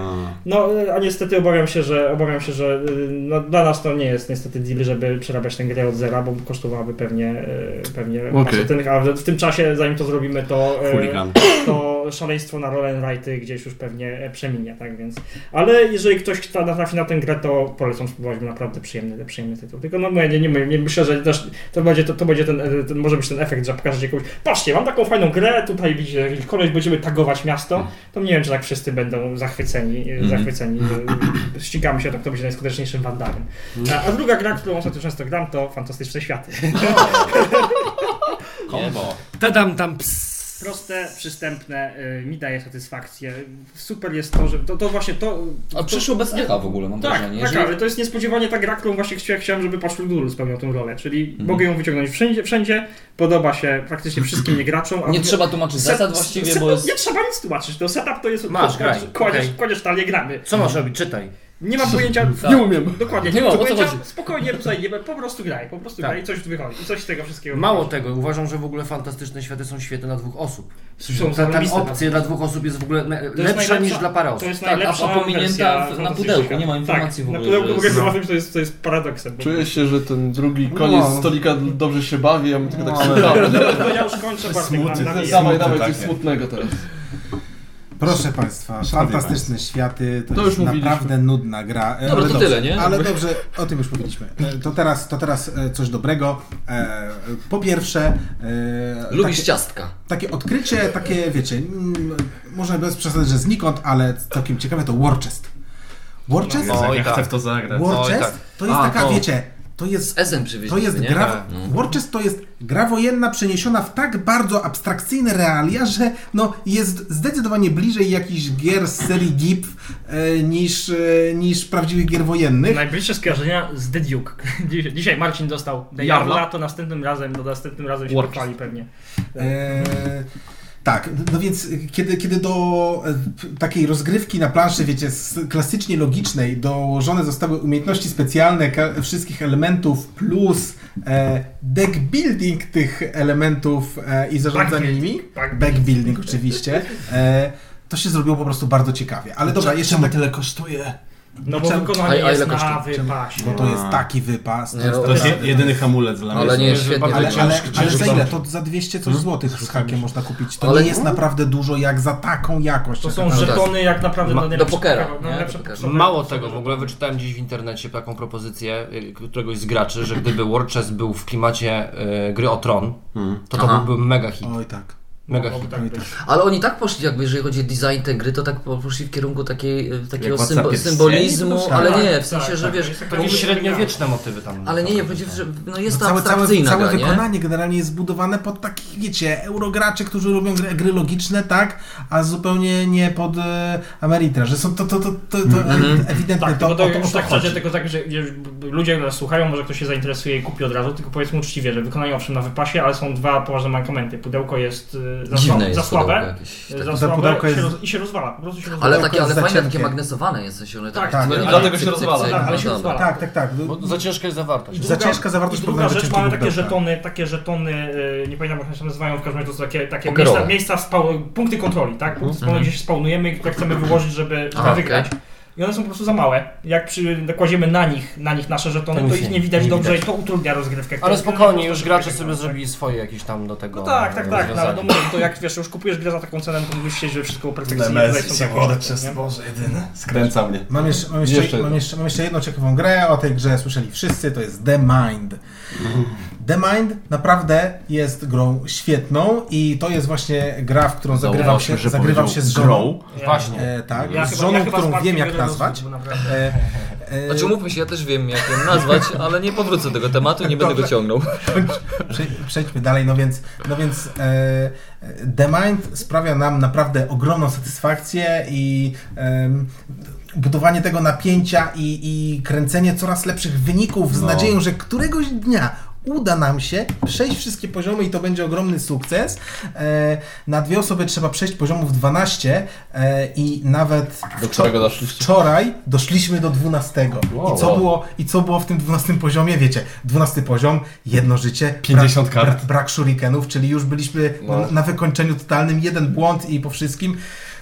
[SPEAKER 6] No, e, a niestety obawiam się, że obawiam się, że e, no, dla nas to nie jest niestety deal, żeby przerabiać tę grę od zera, bo kosztowałaby pewnie, e, pewnie
[SPEAKER 3] Okej.
[SPEAKER 6] masę ten, a w tym czasie, zanim to zrobimy, to... e,
[SPEAKER 1] Chuligan.
[SPEAKER 6] to szaleństwo na roll and righty gdzieś już pewnie e, przeminie, tak więc. Ale jeżeli ktoś kta- natrafi na tę grę, to polecam spróbować, bo naprawdę przyjemny, przyjemny tytuł. Tylko no mówię, nie, nie, nie myślę, że też to będzie, to, to będzie ten, e, ten, może być ten efekt, że pokażecie komuś, patrzcie, mam taką fajną grę, tutaj widzicie jakiś koleś, będziemy tagować miasto, to nie wiem, czy tak wszyscy będą zachwyceni, e, zachwyceni, e, ścigamy się, tak to będzie najskuteczniejszym wandalem. A, a druga gra, którą ostatnio często gram, to Fantastyczne Światy.
[SPEAKER 2] No,
[SPEAKER 1] Kombo.
[SPEAKER 8] Tadam tam ps.
[SPEAKER 6] proste, przystępne, y, mi daje satysfakcję. Super jest to, że to, to właśnie to...
[SPEAKER 5] A
[SPEAKER 6] to,
[SPEAKER 5] przyszło bez echa w ogóle, mam
[SPEAKER 6] tak,
[SPEAKER 5] wrażenie.
[SPEAKER 6] tak,
[SPEAKER 5] że-
[SPEAKER 6] ale to jest niespodziewanie ta gra, którą właśnie chciałem, chciałem żeby Patrol Duru spełniał tę rolę, czyli
[SPEAKER 5] Mhm.
[SPEAKER 6] mogę ją wyciągnąć wszędzie, wszędzie, podoba się praktycznie wszystkim nie graczom. a
[SPEAKER 5] Nie
[SPEAKER 6] w-
[SPEAKER 5] trzeba tłumaczyć
[SPEAKER 6] set-
[SPEAKER 5] zasad właściwie,
[SPEAKER 6] set-
[SPEAKER 5] bo jest...
[SPEAKER 6] Nie trzeba nic tłumaczyć, to setup to jest...
[SPEAKER 9] Masz,
[SPEAKER 6] to
[SPEAKER 9] graj,
[SPEAKER 6] Kładziesz,
[SPEAKER 9] okej.
[SPEAKER 6] kładziesz talię, gramy.
[SPEAKER 9] Co masz robić? Czytaj.
[SPEAKER 6] Nie mam pojęcia...
[SPEAKER 5] Nie
[SPEAKER 6] umiem. Dokładnie,
[SPEAKER 5] Tak. Nie
[SPEAKER 6] nie
[SPEAKER 5] ma,
[SPEAKER 6] mam
[SPEAKER 5] o co
[SPEAKER 6] pojęcia,
[SPEAKER 5] chodzi?
[SPEAKER 6] spokojnie tutaj nie, po prostu graj, po prostu
[SPEAKER 9] Tak.
[SPEAKER 6] graj i coś wychodzi, i coś z tego wszystkiego
[SPEAKER 9] Mało
[SPEAKER 6] wychodzi.
[SPEAKER 9] tego, uważam, że w ogóle fantastyczne światy są świetne na dwóch osób.
[SPEAKER 6] Są
[SPEAKER 9] Ta, ta
[SPEAKER 6] zarobiste,
[SPEAKER 9] opcja dla dwóch osób jest w ogóle me-
[SPEAKER 6] To jest
[SPEAKER 9] lepsza niż
[SPEAKER 6] najlepsza-
[SPEAKER 9] dla para
[SPEAKER 6] To
[SPEAKER 9] osób.
[SPEAKER 6] jest
[SPEAKER 5] Tak, a- a
[SPEAKER 6] najlepsza
[SPEAKER 5] pominięta
[SPEAKER 6] wersja
[SPEAKER 5] w- na
[SPEAKER 6] Fantasy
[SPEAKER 5] pudełku,
[SPEAKER 6] Świata.
[SPEAKER 5] nie ma informacji
[SPEAKER 6] tak,
[SPEAKER 5] w ogóle,
[SPEAKER 6] Na pudełku
[SPEAKER 5] że
[SPEAKER 6] mówię
[SPEAKER 5] jest-
[SPEAKER 6] o tym, że to jest, to jest paradoksem. bo-
[SPEAKER 7] Czuję się, że ten drugi koniec
[SPEAKER 1] No.
[SPEAKER 7] stolika dobrze się bawi, a my tylko tak
[SPEAKER 1] No.
[SPEAKER 7] słuchamy.
[SPEAKER 6] To ja już kończę Bartek,
[SPEAKER 1] Smuty,
[SPEAKER 6] mam
[SPEAKER 1] to
[SPEAKER 6] nadzieję.
[SPEAKER 1] jest
[SPEAKER 7] Dawaj,
[SPEAKER 1] Smutne
[SPEAKER 7] dawaj,
[SPEAKER 3] tak,
[SPEAKER 7] coś
[SPEAKER 1] takie.
[SPEAKER 7] smutnego teraz.
[SPEAKER 2] Proszę Państwa, fantastyczne światy, to,
[SPEAKER 7] To
[SPEAKER 2] jest
[SPEAKER 7] już mówiliśmy.
[SPEAKER 2] naprawdę nudna gra. E,
[SPEAKER 5] Dobra,
[SPEAKER 2] ale
[SPEAKER 5] to
[SPEAKER 2] dobrze,
[SPEAKER 5] tyle, nie?
[SPEAKER 2] Ale dobrze, o tym już mówiliśmy. E, To teraz, to teraz e, coś dobrego. E, Po pierwsze... e,
[SPEAKER 5] Lubisz
[SPEAKER 2] takie-
[SPEAKER 5] ciastka.
[SPEAKER 2] takie odkrycie, takie wiecie, mm, może bez przesady, że znikąd, ale całkiem ciekawe to Warchest. Warchest?
[SPEAKER 1] Jezu,
[SPEAKER 9] Oj,
[SPEAKER 1] ja
[SPEAKER 9] tak.
[SPEAKER 1] chcę w to zagrać.
[SPEAKER 2] Warchest
[SPEAKER 9] tak.
[SPEAKER 2] to jest
[SPEAKER 9] A,
[SPEAKER 2] taka,
[SPEAKER 9] to-
[SPEAKER 2] wiecie, to jest,
[SPEAKER 5] Ezen
[SPEAKER 2] to
[SPEAKER 5] przywieźliśmy,
[SPEAKER 2] jest
[SPEAKER 5] nie?
[SPEAKER 2] gra, Warchest to jest gra wojenna przeniesiona w tak bardzo abstrakcyjne realia, że no, jest zdecydowanie bliżej jakichś gier z serii GIP e, niż, e, niż prawdziwych gier wojennych.
[SPEAKER 6] Najbliższe skojarzenia z The Duke. Dziś- Dzisiaj Marcin dostał
[SPEAKER 7] Jarla.
[SPEAKER 6] Diabla, to następnym razem, to następnym razem się
[SPEAKER 7] Warcraft.
[SPEAKER 6] pochwali pewnie.
[SPEAKER 2] E, tak, no więc kiedy, kiedy do e, p- takiej rozgrywki na planszy, wiecie, s- klasycznie logicznej dołożone zostały umiejętności specjalne ka- wszystkich elementów plus e, deck building tych elementów e, i zarządzanie
[SPEAKER 6] Backbuilding,
[SPEAKER 2] nimi,
[SPEAKER 6] backbuilding.
[SPEAKER 2] back building oczywiście, e, to się zrobiło po prostu bardzo ciekawie. Ale dobra, jeszcze tak,
[SPEAKER 1] tyle kosztuje?
[SPEAKER 6] No bo
[SPEAKER 2] czemu-
[SPEAKER 6] wykonanie
[SPEAKER 5] a ile
[SPEAKER 6] jest na
[SPEAKER 5] kosztuje?
[SPEAKER 6] wypasie.
[SPEAKER 2] bo to jest taki wypas.
[SPEAKER 5] Nie,
[SPEAKER 2] jest
[SPEAKER 5] no,
[SPEAKER 1] To jest
[SPEAKER 2] taki-
[SPEAKER 1] je- jedyny hamulec dla mnie.
[SPEAKER 5] Ale nie,
[SPEAKER 1] jest.
[SPEAKER 5] świetnie.
[SPEAKER 2] Ale,
[SPEAKER 5] wygląda.
[SPEAKER 2] ale, ale za ile? To za 200 coś złotych z hakiem można kupić. To
[SPEAKER 5] Ale-
[SPEAKER 2] nie jest naprawdę dużo jak za taką jakość.
[SPEAKER 6] To
[SPEAKER 2] jaka
[SPEAKER 6] są
[SPEAKER 2] ta-
[SPEAKER 6] żetony jak naprawdę
[SPEAKER 5] Ma-
[SPEAKER 6] na
[SPEAKER 5] do
[SPEAKER 6] najlepsze
[SPEAKER 5] pokera,
[SPEAKER 6] prawo-
[SPEAKER 5] nie?
[SPEAKER 6] na najlepsze
[SPEAKER 5] Do pokera.
[SPEAKER 6] sposoby.
[SPEAKER 9] Mało tego, w ogóle wyczytałem dziś w internecie taką propozycję y, któregoś z graczy, że gdyby War Chess był w klimacie y, gry o tron, to to
[SPEAKER 5] Hmm. Aha.
[SPEAKER 9] byłby mega hit.
[SPEAKER 2] Oj tak.
[SPEAKER 9] Mega
[SPEAKER 6] Mogłoby
[SPEAKER 9] hit.
[SPEAKER 6] tak być.
[SPEAKER 5] Ale oni tak poszli, jakby jeżeli chodzi o design tej gry, to tak po- poszli w kierunku takiej, e, takiego
[SPEAKER 1] władca
[SPEAKER 5] symbo
[SPEAKER 1] pierścieni?
[SPEAKER 5] symbolizmu,
[SPEAKER 1] Tak,
[SPEAKER 5] ale nie,
[SPEAKER 6] tak,
[SPEAKER 5] w sensie, że
[SPEAKER 6] tak,
[SPEAKER 5] wiesz,
[SPEAKER 6] jest taka
[SPEAKER 9] Takie
[SPEAKER 6] Mógłby-
[SPEAKER 9] średniowieczne motywy tam.
[SPEAKER 5] ale nie, nie, chodzi, że no jest to
[SPEAKER 2] No całe,
[SPEAKER 5] abstrakcyjna
[SPEAKER 2] całe
[SPEAKER 5] gra, nie?
[SPEAKER 2] wykonanie generalnie jest zbudowane pod takich, wiecie, eurograczy, którzy robią gry, gry logiczne, tak, a zupełnie nie pod e, Ameritra, że są to, to, to, to, to ewidentne,
[SPEAKER 6] Tak,
[SPEAKER 2] to,
[SPEAKER 6] to,
[SPEAKER 2] o
[SPEAKER 6] to
[SPEAKER 2] to,
[SPEAKER 6] już
[SPEAKER 2] o to
[SPEAKER 6] tak
[SPEAKER 2] chodzi.
[SPEAKER 6] trzeba tego tak, że że ludzie nas słuchają, może ktoś się zainteresuje i kupi od razu, tylko powiedzmy uczciwie, że wykonanie owszem na wypasie, ale są dwa poważne mankamenty. Pudełko jest y, za,
[SPEAKER 5] Dziwne
[SPEAKER 6] słabe-
[SPEAKER 5] jest
[SPEAKER 6] za
[SPEAKER 5] pudełko
[SPEAKER 6] słabe,
[SPEAKER 5] jakieś.
[SPEAKER 6] y,
[SPEAKER 5] takie.
[SPEAKER 6] za
[SPEAKER 2] To
[SPEAKER 6] słabe
[SPEAKER 2] pudełko
[SPEAKER 6] się
[SPEAKER 2] jest-
[SPEAKER 6] roz, i się rozwala, po prostu się rozwala.
[SPEAKER 5] Ale
[SPEAKER 2] pudełko
[SPEAKER 5] takie,
[SPEAKER 2] jest
[SPEAKER 5] ale fajne, takie
[SPEAKER 2] zacięte.
[SPEAKER 5] magnesowane jest, w sensie one
[SPEAKER 6] Tak,
[SPEAKER 5] tak,
[SPEAKER 2] tak,
[SPEAKER 5] dzwonią,
[SPEAKER 7] No, dlatego
[SPEAKER 5] cyk,
[SPEAKER 7] się
[SPEAKER 5] cyk,
[SPEAKER 7] rozwala,
[SPEAKER 5] cyk,
[SPEAKER 6] tak, ale
[SPEAKER 5] no
[SPEAKER 6] się
[SPEAKER 5] dobra.
[SPEAKER 6] rozwala.
[SPEAKER 2] Tak, tak, tak. No,
[SPEAKER 9] Bo za ciężka jest zawarta.
[SPEAKER 6] I
[SPEAKER 2] Za ciężka zawartość
[SPEAKER 6] I druga
[SPEAKER 2] problemu
[SPEAKER 6] rzecz, mamy
[SPEAKER 2] wyciętego
[SPEAKER 6] takie
[SPEAKER 2] pudełka.
[SPEAKER 6] żetony, takie żetony, y, nie pamiętam jak one się nazywają, w każdym razie to są takie, takie
[SPEAKER 5] Pokerowe.
[SPEAKER 6] miejsca, miejsca spał, punkty kontroli, tak?
[SPEAKER 2] Mhm.
[SPEAKER 6] Punkty spawnu, gdzie się spawnujemy i które chcemy wyłożyć, żeby, żeby
[SPEAKER 5] A,
[SPEAKER 6] wygrać.
[SPEAKER 5] okej.
[SPEAKER 6] I one są po prostu za małe. Jak przy, kładziemy na nich, na nich nasze żetony,
[SPEAKER 9] To
[SPEAKER 6] to
[SPEAKER 9] nic
[SPEAKER 6] ich
[SPEAKER 9] nie-
[SPEAKER 6] nie widać
[SPEAKER 9] nie
[SPEAKER 6] dobrze
[SPEAKER 9] widać.
[SPEAKER 6] i to utrudnia rozgrywkę.
[SPEAKER 9] Ale
[SPEAKER 6] To-
[SPEAKER 9] spokojnie,
[SPEAKER 6] to-
[SPEAKER 9] już gracze sobie zrobili swoje jakieś tam do tego.
[SPEAKER 6] tak. No tak, tak, tak. No, ale
[SPEAKER 9] rozwiązania.
[SPEAKER 6] no, mówię, to jak wiesz, już kupujesz grę za taką cenę, to musisz siedzieć, że wszystko perfekcyjnie. tutaj są
[SPEAKER 1] DMS się
[SPEAKER 6] takie
[SPEAKER 1] woda
[SPEAKER 6] rzeczy,
[SPEAKER 1] przez
[SPEAKER 6] nie?
[SPEAKER 1] Boże jedyne. Skręca mnie.
[SPEAKER 2] Mam jeszcze, mam, jeszcze,
[SPEAKER 7] Jeszcze
[SPEAKER 2] mam, jeszcze, mam jeszcze jedną ciekawą grę, o tej grze słyszeli wszyscy, to jest The Mind. The Mind naprawdę jest grą świetną i to jest właśnie gra, w którą zagrywam się, zagrywam się z żoną.
[SPEAKER 9] Właśnie.
[SPEAKER 2] E, tak,
[SPEAKER 6] Ja
[SPEAKER 2] z
[SPEAKER 6] chyba-
[SPEAKER 2] żoną,
[SPEAKER 6] ja chyba z
[SPEAKER 2] którą
[SPEAKER 6] Bartkiem
[SPEAKER 2] wiem jak
[SPEAKER 6] wiele rozmów,
[SPEAKER 2] nazwać.
[SPEAKER 6] bo naprawdę.
[SPEAKER 2] E, e,
[SPEAKER 3] Znaczy mówmy się, ja też wiem jak ją nazwać, ale nie powrócę do tego tematu, nie będę go ciągnął.
[SPEAKER 2] Prze- Przejdźmy dalej, no więc, no więc e, e, The Mind sprawia nam naprawdę ogromną satysfakcję i em, budowanie tego napięcia i, i kręcenie coraz lepszych wyników z
[SPEAKER 7] No.
[SPEAKER 2] nadzieją, że któregoś dnia uda nam się przejść wszystkie poziomy i to będzie ogromny sukces. E, na dwie osoby trzeba przejść poziomów 12 e, i nawet
[SPEAKER 7] Do którego doszliście?
[SPEAKER 2] Wczoraj doszliśmy do 12. I, co było, I co było w tym 12 poziomie? Wiecie, 12 poziom, jedno życie,
[SPEAKER 1] 50
[SPEAKER 2] brak,
[SPEAKER 1] kart.
[SPEAKER 2] Brak, brak shurikenów, czyli już byliśmy
[SPEAKER 7] No.
[SPEAKER 2] na, na wykończeniu totalnym, jeden błąd i po wszystkim.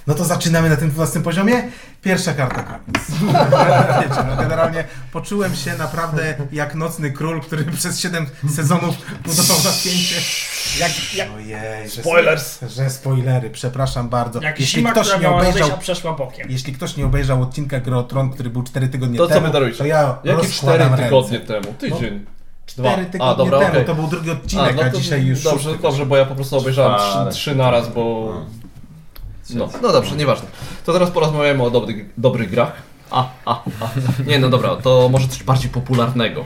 [SPEAKER 2] No to zaczynamy na tym 12 poziomie. Pierwsza karta koniec. Wiecie, no generalnie poczułem się naprawdę jak nocny król, który przez 7 sezonów budował napięcie.
[SPEAKER 6] Jak, jak,
[SPEAKER 2] Ojej, No że,
[SPEAKER 6] Spoilers.
[SPEAKER 2] że spoilery, przepraszam bardzo.
[SPEAKER 6] jak zima, która miała odejść, a przeszła bokiem.
[SPEAKER 2] Jeśli ktoś nie obejrzał odcinka Gry o Tron, który był 4 tygodnie
[SPEAKER 7] To co
[SPEAKER 2] temu,
[SPEAKER 7] wy darujecie?
[SPEAKER 2] to ja
[SPEAKER 7] Jakie
[SPEAKER 2] rozkładam
[SPEAKER 7] 4
[SPEAKER 2] ręce. No,
[SPEAKER 7] tygodnie temu? Tydzień. Dwa.
[SPEAKER 2] 4 tygodnie
[SPEAKER 7] A, dobra,
[SPEAKER 2] temu,
[SPEAKER 7] okej.
[SPEAKER 2] to był drugi odcinek, a,
[SPEAKER 7] to
[SPEAKER 2] dzisiaj już
[SPEAKER 7] Dobrze,
[SPEAKER 2] szósty.
[SPEAKER 7] dobrze, bo ja po prostu obejrzałem
[SPEAKER 1] Czwarty.
[SPEAKER 7] trzy, trzy naraz, bo... No, no dobrze, nieważne. To teraz porozmawiamy o dobrych, dobrych grach. A, a, a. Nie, no dobra, to może coś bardziej popularnego.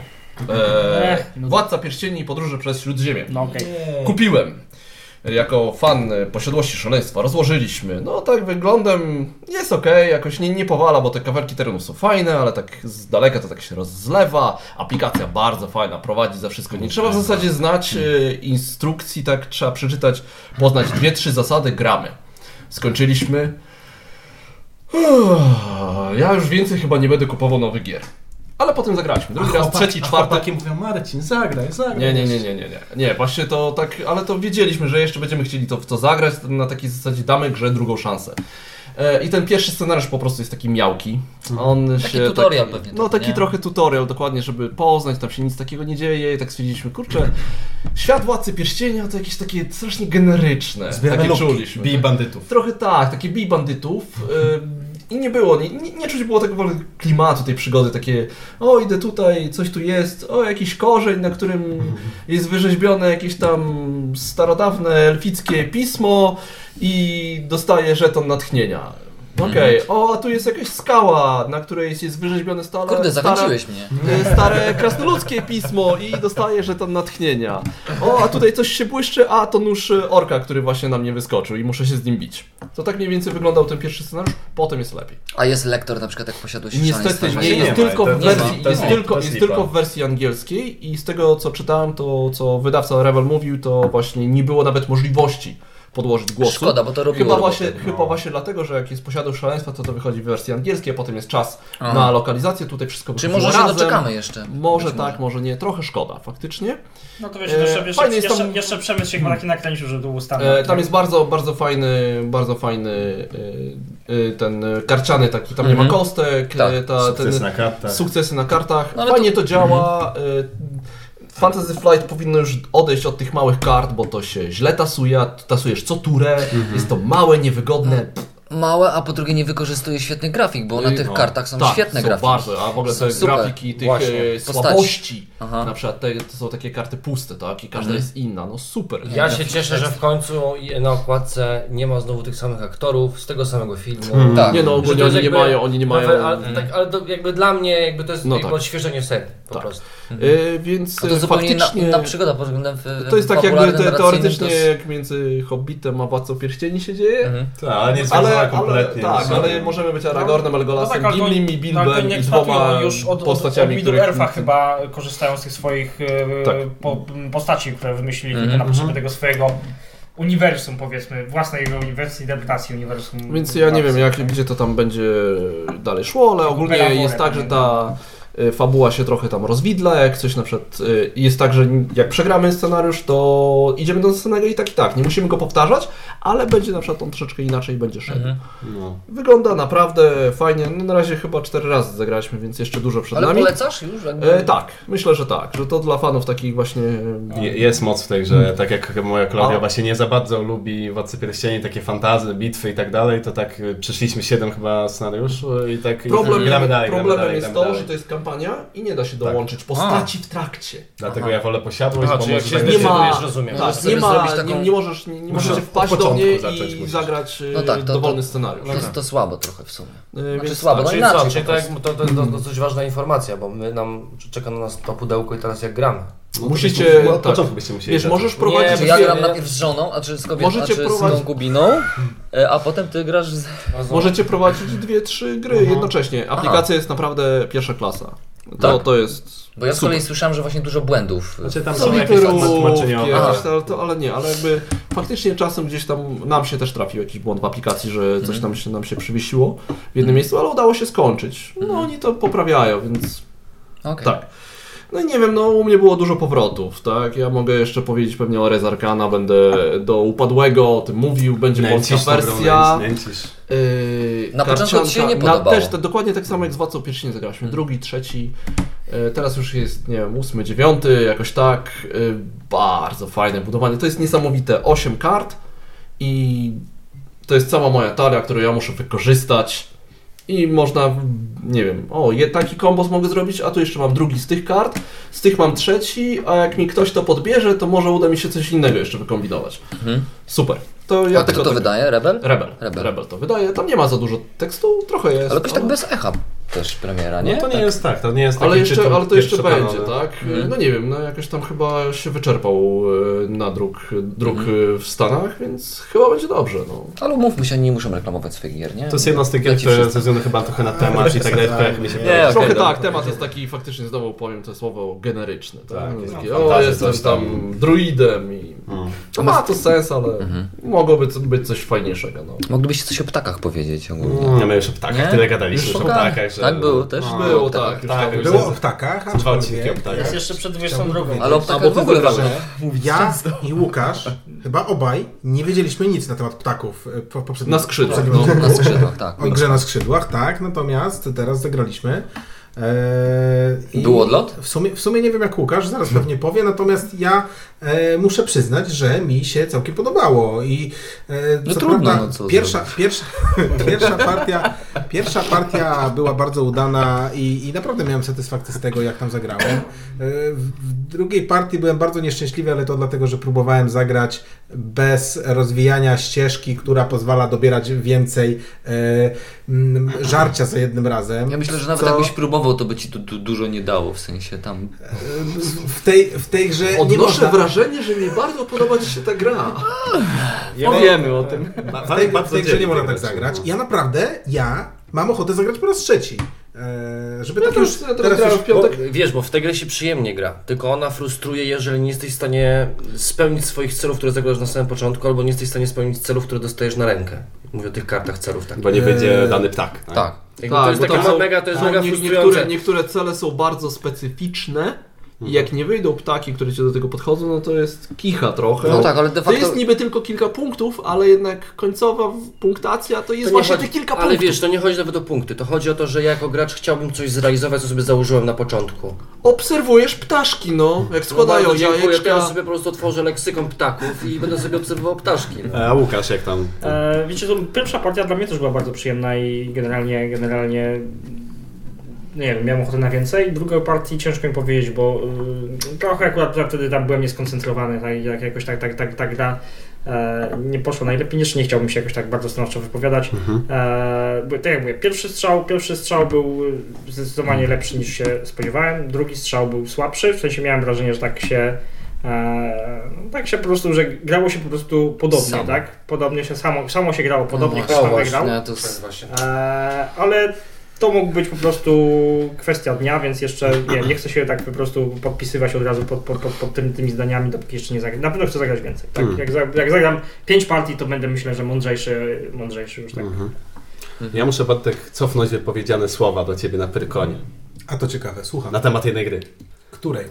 [SPEAKER 7] Eee,
[SPEAKER 6] Ech, no
[SPEAKER 7] Władca Pierścieni i Podróże przez Śródziemie.
[SPEAKER 6] No okej.
[SPEAKER 7] Kupiłem. jako fan e, posiadłości szaleństwa rozłożyliśmy. No tak wyglądem jest ok, jakoś nie, nie powala, bo te kawałki terenu są fajne, ale tak z daleka to tak się rozlewa. Aplikacja bardzo fajna, prowadzi za wszystko. Nie trzeba w zasadzie znać e, instrukcji, tak trzeba przeczytać, poznać dwie, trzy zasady, gramy. Skończyliśmy. Uff, Ja już więcej chyba nie będę kupował nowych gier. Ale potem zagraliśmy. Drugi raz, tak, trzeci, czwarty.
[SPEAKER 1] Chłopaki mówią, Marcin, zagraj, zagraj.
[SPEAKER 7] Nie, nie, nie, nie, nie, nie. Nie, właśnie to tak, ale to wiedzieliśmy, że jeszcze będziemy chcieli to w to zagrać, na takiej zasadzie damy grze drugą szansę. E, I ten pierwszy scenariusz po prostu jest taki miałki. On
[SPEAKER 3] Mhm. Taki
[SPEAKER 7] się
[SPEAKER 3] tutorial pewnie
[SPEAKER 7] No
[SPEAKER 3] trochę,
[SPEAKER 7] taki
[SPEAKER 3] nie?
[SPEAKER 7] trochę tutorial, dokładnie, żeby poznać, tam się nic takiego nie dzieje i tak stwierdziliśmy, kurczę, świat Władcy Pierścienia to jakieś takie strasznie generyczne.
[SPEAKER 2] Zbieramy
[SPEAKER 7] takie
[SPEAKER 2] lubki.
[SPEAKER 7] czuliśmy.
[SPEAKER 1] Bij bandytów.
[SPEAKER 7] Trochę tak, takie bij bandytów. y, I nie było, nie, nie, nie czuć było tego klimatu tej przygody, takie o idę tutaj, coś tu jest, o jakiś korzeń, na którym jest wyrzeźbione jakieś tam starodawne elfickie pismo i dostaję żeton natchnienia. Okej, o a tu jest jakaś skała, na której jest wyrzeźbione stale,
[SPEAKER 3] Kurde,
[SPEAKER 7] stare,
[SPEAKER 3] zachęciłeś mnie.
[SPEAKER 7] y, stare krasnoludzkie pismo i dostaję żeton natchnienia. O, a tutaj coś się błyszczy, a to nóż y, orka, który właśnie na mnie wyskoczył i muszę się z nim bić. To tak mniej więcej wyglądał ten pierwszy scenariusz, potem jest lepiej.
[SPEAKER 3] A jest lektor na przykład, jak posiadłeś
[SPEAKER 7] I niestety
[SPEAKER 3] szaleństwa.
[SPEAKER 7] nie,
[SPEAKER 1] nie
[SPEAKER 7] jest
[SPEAKER 1] ma,
[SPEAKER 7] tylko
[SPEAKER 1] to-
[SPEAKER 7] w
[SPEAKER 1] to-
[SPEAKER 7] wersji,
[SPEAKER 1] to-
[SPEAKER 7] jest
[SPEAKER 1] to-
[SPEAKER 7] tylko,
[SPEAKER 1] to
[SPEAKER 7] jest
[SPEAKER 1] slipa.
[SPEAKER 7] tylko w wersji angielskiej i z tego co czytałem, to co wydawca Rebel mówił, to właśnie nie było nawet możliwości podłożyć głosu.
[SPEAKER 3] Szkoda, bo to robiło
[SPEAKER 7] Chyba
[SPEAKER 3] robotę.
[SPEAKER 7] właśnie, chyba właśnie dlatego, że jak jest posiadał szaleństwa, to to wychodzi w wersji angielskiej, a potem jest czas na lokalizację, tutaj wszystko
[SPEAKER 3] Czy
[SPEAKER 7] wychodziło
[SPEAKER 3] może się
[SPEAKER 7] razem.
[SPEAKER 3] doczekamy jeszcze?
[SPEAKER 7] Może
[SPEAKER 3] Być
[SPEAKER 7] tak, może nie. Trochę szkoda, faktycznie.
[SPEAKER 6] No to wiesz,
[SPEAKER 7] E,
[SPEAKER 6] jeszcze, jeszcze,
[SPEAKER 7] fajny jest
[SPEAKER 6] jeszcze,
[SPEAKER 7] tam-
[SPEAKER 6] jeszcze przemysł się chyba taki nakręcił, że to
[SPEAKER 3] Tak,
[SPEAKER 6] ustawił.
[SPEAKER 7] E, tam jest bardzo, bardzo fajny, bardzo fajny e, e, ten e, karciany taki, tam nie ma kostek,
[SPEAKER 3] Tak,
[SPEAKER 7] e, ta,
[SPEAKER 1] Sukces
[SPEAKER 7] ten,
[SPEAKER 1] na kartach.
[SPEAKER 7] sukcesy na kartach.
[SPEAKER 3] No ale Mhm.
[SPEAKER 7] Fajnie to, działa. e, Fantasy Flight powinno już odejść od tych małych kart, bo to się źle tasuje, a tu tasujesz co turę,
[SPEAKER 3] Mhm.
[SPEAKER 7] jest to małe, niewygodne.
[SPEAKER 3] Małe, a po drugie nie wykorzystuje świetnych grafik, bo na
[SPEAKER 7] I-
[SPEAKER 3] tych
[SPEAKER 7] no.
[SPEAKER 3] kartach są
[SPEAKER 7] tak,
[SPEAKER 3] świetne
[SPEAKER 7] są
[SPEAKER 3] grafiki.
[SPEAKER 7] Bardzo, a w ogóle
[SPEAKER 3] Są
[SPEAKER 7] te
[SPEAKER 3] super.
[SPEAKER 7] grafiki tych
[SPEAKER 3] Właśnie,
[SPEAKER 7] e,
[SPEAKER 3] postaci.
[SPEAKER 7] słabości,
[SPEAKER 3] Aha. Mhm.
[SPEAKER 7] na przykład te, to są takie karty puste, tak? I każda jest inna, no super.
[SPEAKER 9] Ja się cieszę, że w końcu na okładce nie ma znowu tych samych aktorów z tego samego filmu.
[SPEAKER 3] Tak.
[SPEAKER 7] Nie no,
[SPEAKER 9] Że to
[SPEAKER 7] ogólnie
[SPEAKER 9] jest
[SPEAKER 7] oni nie
[SPEAKER 9] jakby
[SPEAKER 7] mają, oni nie mają... Hmm.
[SPEAKER 9] nowe- Ale, tak, ale to jakby dla mnie jakby to jest
[SPEAKER 7] No
[SPEAKER 9] no jakby
[SPEAKER 7] tak.
[SPEAKER 9] odświeżenie serii po
[SPEAKER 7] Tak.
[SPEAKER 9] prostu.
[SPEAKER 7] E, więc
[SPEAKER 3] A to zupełnie inna,
[SPEAKER 7] faktycznie
[SPEAKER 3] inna przygoda pod względem w-
[SPEAKER 7] to jest tak jakby
[SPEAKER 3] fabularnym,
[SPEAKER 7] te,
[SPEAKER 3] narracyjnym,
[SPEAKER 7] teoretycznie
[SPEAKER 3] to jest-
[SPEAKER 7] jak między Hobbitem a Władcą Pierścieni się dzieje,
[SPEAKER 3] Mhm.
[SPEAKER 1] Tak, ale nie
[SPEAKER 7] ale,
[SPEAKER 1] związana
[SPEAKER 7] ale,
[SPEAKER 1] kompletnie.
[SPEAKER 7] tak,
[SPEAKER 1] no.
[SPEAKER 7] ale możemy być Aragornem, Elgolasem,
[SPEAKER 6] no, tak, ale to-
[SPEAKER 7] Gimlim i
[SPEAKER 6] ale to
[SPEAKER 7] Bilbem
[SPEAKER 6] nie
[SPEAKER 7] i dwoma
[SPEAKER 6] kształtują już od, od, od,
[SPEAKER 7] postaciami,
[SPEAKER 6] Middle
[SPEAKER 7] których...
[SPEAKER 6] Eartha chyba korzystają z tych swoich e,
[SPEAKER 7] Tak. Mhm,
[SPEAKER 6] po, postaci, które wymyślili tylko na potrzeby tego swojego uniwersum, powiedzmy, własnej jego uniwersum, interpretacji uniwersum.
[SPEAKER 7] Więc ja nie wiem, jak, gdzie to tam będzie dalej szło, ale ogólnie
[SPEAKER 6] Opera
[SPEAKER 7] jest
[SPEAKER 6] Borea,
[SPEAKER 7] tak, że
[SPEAKER 6] nie?
[SPEAKER 7] ta y, fabuła się trochę tam rozwidla, jak coś na przykład y, jest tak, że jak przegramy scenariusz, to idziemy do scenariusza i tak i tak, nie musimy go powtarzać, ale będzie na przykład on troszeczkę inaczej będzie szedł.
[SPEAKER 1] No.
[SPEAKER 7] Wygląda naprawdę fajnie, no na razie chyba cztery razy zagraliśmy, więc jeszcze dużo przed
[SPEAKER 3] Ale
[SPEAKER 7] nami.
[SPEAKER 3] polecasz już? Jakby...
[SPEAKER 7] E, tak, myślę, że tak, że to dla fanów takich właśnie...
[SPEAKER 1] Je- Jest moc w tej grze, tak jak moja
[SPEAKER 7] A.
[SPEAKER 1] Klaudia właśnie nie za bardzo lubi Władcy Pierścieni, takie fantazy, bitwy i tak dalej, to tak y, przyszliśmy 7 chyba scenariusz y, i tak i
[SPEAKER 7] Problem,
[SPEAKER 1] gramy dalej, gramy
[SPEAKER 7] problemem
[SPEAKER 1] dalej,
[SPEAKER 7] jest
[SPEAKER 1] gramy
[SPEAKER 7] to,
[SPEAKER 1] dalej.
[SPEAKER 7] że to jest kampania i nie da się dołączyć postaci w trakcie.
[SPEAKER 1] Dlatego ja wolę posiadłość, bo
[SPEAKER 9] Znaczy, jak
[SPEAKER 1] może
[SPEAKER 9] się
[SPEAKER 1] tak
[SPEAKER 7] zdecydujesz,
[SPEAKER 1] nie ma...
[SPEAKER 9] rozumiem.
[SPEAKER 3] Możesz
[SPEAKER 7] nie,
[SPEAKER 3] sobie
[SPEAKER 7] ma,
[SPEAKER 3] zrobić
[SPEAKER 7] nie,
[SPEAKER 3] taką-
[SPEAKER 7] nie możesz, nie, nie możecie
[SPEAKER 1] Muszę od
[SPEAKER 7] wpaść do
[SPEAKER 1] początku
[SPEAKER 7] mnie
[SPEAKER 1] zacząć
[SPEAKER 7] i
[SPEAKER 1] musisz.
[SPEAKER 7] zagrać no
[SPEAKER 3] No tak, to-
[SPEAKER 7] dowolny
[SPEAKER 3] to-
[SPEAKER 7] scenariusz.
[SPEAKER 3] To, jest- to słabo trochę w sumie.
[SPEAKER 7] E,
[SPEAKER 3] Znaczy
[SPEAKER 7] więc
[SPEAKER 3] słabo, no
[SPEAKER 9] Czyli
[SPEAKER 3] inaczej
[SPEAKER 9] co,
[SPEAKER 3] po
[SPEAKER 9] czyli tak,
[SPEAKER 3] prostu.
[SPEAKER 9] to, to, to, to coś ważna informacja, bo my nam czeka na nas to pudełko i teraz jak gramy.
[SPEAKER 7] musicie...
[SPEAKER 1] Od
[SPEAKER 7] Tak,
[SPEAKER 1] początku byście musieli
[SPEAKER 7] wiesz,
[SPEAKER 1] zacząć.
[SPEAKER 7] możesz prowadzić...
[SPEAKER 9] bo
[SPEAKER 3] Czy ja
[SPEAKER 9] Wiecie-
[SPEAKER 3] gram najpierw z żoną, a czy z kobietą, a
[SPEAKER 7] Możecie
[SPEAKER 3] czy z
[SPEAKER 7] prowadzić-
[SPEAKER 3] tą gubiną, e, a potem ty grasz z...
[SPEAKER 7] Możecie prowadzić dwie, trzy gry jednocześnie. Aplikacja jest naprawdę pierwsza klasa. To,
[SPEAKER 3] Tak.
[SPEAKER 7] to jest...
[SPEAKER 3] Bo ja z
[SPEAKER 7] super.
[SPEAKER 3] kolei słyszałem, że właśnie dużo błędów.
[SPEAKER 1] Znaczy tam są jakieś
[SPEAKER 7] Soliterówki,
[SPEAKER 1] tłumaczenia.
[SPEAKER 7] jakieś, ale, to, ale nie, ale jakby faktycznie czasem gdzieś tam nam się też trafił jakiś błąd w aplikacji, że
[SPEAKER 3] Mhm.
[SPEAKER 7] coś tam się, nam się przywiesiło w jednym miejscu, ale udało się skończyć. No oni to poprawiają, więc
[SPEAKER 3] Mhm. Okej.
[SPEAKER 7] tak. No i nie wiem, no u mnie było dużo powrotów, tak? Ja mogę jeszcze powiedzieć pewnie o Rezarkana, będę do upadłego o tym mówił, będzie polska
[SPEAKER 1] Nęcisz tą grą,
[SPEAKER 7] wersja.
[SPEAKER 1] nęcisz, nęcisz.
[SPEAKER 7] Yy,
[SPEAKER 3] Na początku
[SPEAKER 7] karcianka-
[SPEAKER 3] ci się nie
[SPEAKER 7] na-
[SPEAKER 3] podobało. Hmm.
[SPEAKER 7] Też, to, dokładnie tak samo jak z Władcą Pierścieni zagraliśmy. Drugi, trzeci. Yy, teraz już jest, nie wiem, ósmy, dziewiąty, jakoś tak. Yy, bardzo fajne budowanie. To jest niesamowite. Osiem kart i to jest cała moja talia, którą ja muszę wykorzystać. I można nie wiem, o, je, taki kombos mogę zrobić, a tu jeszcze mam drugi z tych kart, z tych mam trzeci, a jak mi ktoś to podbierze, to może uda mi się coś innego jeszcze wykombinować.
[SPEAKER 3] Hmm.
[SPEAKER 5] Mhm.
[SPEAKER 7] Super. To ja
[SPEAKER 5] A kto
[SPEAKER 7] tylko
[SPEAKER 5] to
[SPEAKER 7] tak-
[SPEAKER 5] wydaje? Rebel?
[SPEAKER 7] Rebel.
[SPEAKER 5] Rebel.
[SPEAKER 7] Rebel. to wydaje. Tam nie ma za dużo tekstu, trochę jest.
[SPEAKER 5] Ale też tak bez echa też premiera, nie?
[SPEAKER 1] No to nie jest tak, to nie jest taki
[SPEAKER 7] Ale, jeszcze,
[SPEAKER 1] tytuł
[SPEAKER 7] ale to jeszcze
[SPEAKER 1] pierwszoplanowy.
[SPEAKER 7] będzie, tak? No nie wiem, no jakoś tam chyba się wyczerpał e, na druk, druk e, w Stanach, więc chyba będzie dobrze. No.
[SPEAKER 5] Ale mówmy się, nie muszą reklamować swoich gier, nie?
[SPEAKER 1] To jest jedna z tych gier,
[SPEAKER 5] Leci
[SPEAKER 1] które
[SPEAKER 5] wszystko.
[SPEAKER 1] ze względu chyba trochę na temat i tak dalej, tylko jak mi się
[SPEAKER 2] Nie,
[SPEAKER 1] podoba.
[SPEAKER 7] Trochę
[SPEAKER 5] dobra.
[SPEAKER 7] tak, temat jest taki faktycznie, znowu powiem to słowo generyczne. Tak?
[SPEAKER 1] Tak,
[SPEAKER 7] Jest
[SPEAKER 1] no,
[SPEAKER 7] takie, o,
[SPEAKER 1] fantazja,
[SPEAKER 7] jestem
[SPEAKER 1] coś
[SPEAKER 7] tam
[SPEAKER 1] tam.
[SPEAKER 7] druidem i
[SPEAKER 1] Mm.
[SPEAKER 7] to ma to sens, ale mogłoby to być coś fajniejszego. No.
[SPEAKER 5] Moglibyście coś o ptakach powiedzieć ogólnie.
[SPEAKER 1] Nie, my już o ptakach
[SPEAKER 5] Nie?
[SPEAKER 1] tyle gadaliśmy,
[SPEAKER 5] Już
[SPEAKER 1] już o
[SPEAKER 5] o ptakach.
[SPEAKER 1] ptakach, że...
[SPEAKER 5] Tak było też?
[SPEAKER 1] No,
[SPEAKER 7] Było tak, już
[SPEAKER 1] tak,
[SPEAKER 7] tam
[SPEAKER 1] już
[SPEAKER 2] Było
[SPEAKER 1] było.
[SPEAKER 2] o ptakach,
[SPEAKER 1] Dwa odcinki o
[SPEAKER 2] aczkolwiek...
[SPEAKER 1] ptakach.
[SPEAKER 10] Jest jeszcze przed 22.
[SPEAKER 2] Chciałbym
[SPEAKER 5] Ale o
[SPEAKER 7] A, bo
[SPEAKER 5] ptakach w
[SPEAKER 7] ty
[SPEAKER 5] ogóle
[SPEAKER 7] wygrasz,
[SPEAKER 5] walą.
[SPEAKER 2] Ja i Łukasz, chyba obaj, nie wiedzieliśmy nic na temat ptaków e, po, poprzednim...
[SPEAKER 7] Na skrzydłach,
[SPEAKER 2] poprzednim
[SPEAKER 7] no.
[SPEAKER 2] odcinku.
[SPEAKER 5] Na skrzydłach, tak.
[SPEAKER 2] O grze na skrzydłach, tak, natomiast teraz zagraliśmy. Eee, i
[SPEAKER 5] Był odlot?
[SPEAKER 2] W sumie, w sumie nie wiem jak Łukasz, zaraz pewnie
[SPEAKER 5] Hmm.
[SPEAKER 2] powie, natomiast ja e, muszę przyznać, że mi się całkiem podobało i e,
[SPEAKER 5] No
[SPEAKER 2] co
[SPEAKER 5] trudno,
[SPEAKER 2] prawda
[SPEAKER 5] no co
[SPEAKER 2] pierwsza, pierwsza, pierwsza, partia, pierwsza partia była bardzo udana i, i naprawdę miałem satysfakcję z tego, jak tam zagrałem. E, w, w drugiej partii byłem bardzo nieszczęśliwy, ale to dlatego, że próbowałem zagrać bez rozwijania ścieżki, która pozwala dobierać więcej e, mm, żarcia za jednym razem.
[SPEAKER 5] Ja myślę, że nawet
[SPEAKER 2] Co-
[SPEAKER 5] jakbyś próbował, to by ci tu, tu dużo nie dało, w sensie tam...
[SPEAKER 2] E, w tej, w tej grze nie
[SPEAKER 7] Odnoszę
[SPEAKER 2] można...
[SPEAKER 7] wrażenie, że mi bardzo podoba Ci się ta gra.
[SPEAKER 1] Powiemy o tym.
[SPEAKER 2] w tej, w tej grze nie można tak zagrać. Ja naprawdę, ja mam ochotę zagrać po raz trzeci. E, żeby tak
[SPEAKER 7] No to
[SPEAKER 2] już
[SPEAKER 7] już teraz grałem w
[SPEAKER 2] bo-
[SPEAKER 10] Bo,
[SPEAKER 7] piątek.
[SPEAKER 10] tak- wiesz, bo w tej grze się przyjemnie gra, tylko ona frustruje, jeżeli nie jesteś w stanie spełnić swoich celów, które zakładasz na samym początku, albo nie jesteś w stanie spełnić celów, które dostajesz na rękę. Mówię o tych kartach celów, tak.
[SPEAKER 1] Bo nie wyjdzie
[SPEAKER 7] Yy,
[SPEAKER 2] Eee,
[SPEAKER 1] dany ptak. tak?
[SPEAKER 5] Tak.
[SPEAKER 10] Jakby to jest
[SPEAKER 7] bo
[SPEAKER 10] taka
[SPEAKER 7] tam są-
[SPEAKER 10] mega, to jest
[SPEAKER 7] są
[SPEAKER 10] mega
[SPEAKER 7] nie-
[SPEAKER 10] frustrujące. Mhm.
[SPEAKER 7] niektóre, niektóre cele są bardzo specyficzne i jak nie wyjdą ptaki, które cię do tego podchodzą, no to jest kicha trochę.
[SPEAKER 5] No tak, ale de
[SPEAKER 7] To
[SPEAKER 5] facto...
[SPEAKER 7] jest niby tylko kilka punktów, ale jednak końcowa w- punktacja to
[SPEAKER 10] To
[SPEAKER 7] jest
[SPEAKER 10] nie
[SPEAKER 7] właśnie
[SPEAKER 10] chodzi-
[SPEAKER 7] te kilka
[SPEAKER 10] Ale
[SPEAKER 7] punktów.
[SPEAKER 10] wiesz, to nie chodzi nawet o punkty, to chodzi o to, że ja jako gracz chciałbym coś zrealizować, co sobie założyłem na początku.
[SPEAKER 7] Obserwujesz ptaszki, no, jak składają
[SPEAKER 10] Bardzo dziękuję,
[SPEAKER 7] jajeczka.
[SPEAKER 10] teraz sobie po prostu otworzę leksykon ptaków i będę sobie obserwował ptaszki. No.
[SPEAKER 1] A Łukasz, jak tam?
[SPEAKER 6] E, wiecie, to pierwsza partia dla mnie też była bardzo przyjemna i generalnie, generalnie nie wiem, miałem ochotę na więcej. Drugiej partii ciężko mi powiedzieć, bo y, trochę akurat ja wtedy tam byłem nieskoncentrowany, tak, jak jakoś tak, tak, tak, tak gra e, nie poszła najlepiej, jeszcze nie chciałbym się jakoś tak bardzo stanowczo wypowiadać.
[SPEAKER 5] Mhm.
[SPEAKER 6] E, bo, tak jak mówię, pierwszy strzał, pierwszy strzał był y, zdecydowanie lepszy niż się spodziewałem, drugi strzał był słabszy, w sensie miałem wrażenie, że tak się e, no, tak się po prostu, że grało się po prostu podobnie,
[SPEAKER 5] Samo.
[SPEAKER 6] tak? Podobnie się samo, samo się grało, podobnie
[SPEAKER 5] No
[SPEAKER 6] ktoś tam
[SPEAKER 5] właśnie,
[SPEAKER 6] wygrał.
[SPEAKER 5] to jest...
[SPEAKER 6] E, ale to mógł być po prostu kwestia dnia, więc jeszcze nie, nie chcę się tak po prostu podpisywać od razu pod, pod, pod, pod tym, tymi zdaniami, dopóki jeszcze nie zagram. Na pewno chcę zagrać więcej. Tak?
[SPEAKER 1] Mm.
[SPEAKER 6] Jak, za, jak zagram pięć partii, to będę myślę, że mądrzejszy, mądrzejszy już tak.
[SPEAKER 1] Mhm. Ja muszę, Bartek, cofnąć wypowiedziane słowa do ciebie na Pyrkonie.
[SPEAKER 2] A to ciekawe, słucham.
[SPEAKER 1] Na temat jednej gry.
[SPEAKER 2] Której?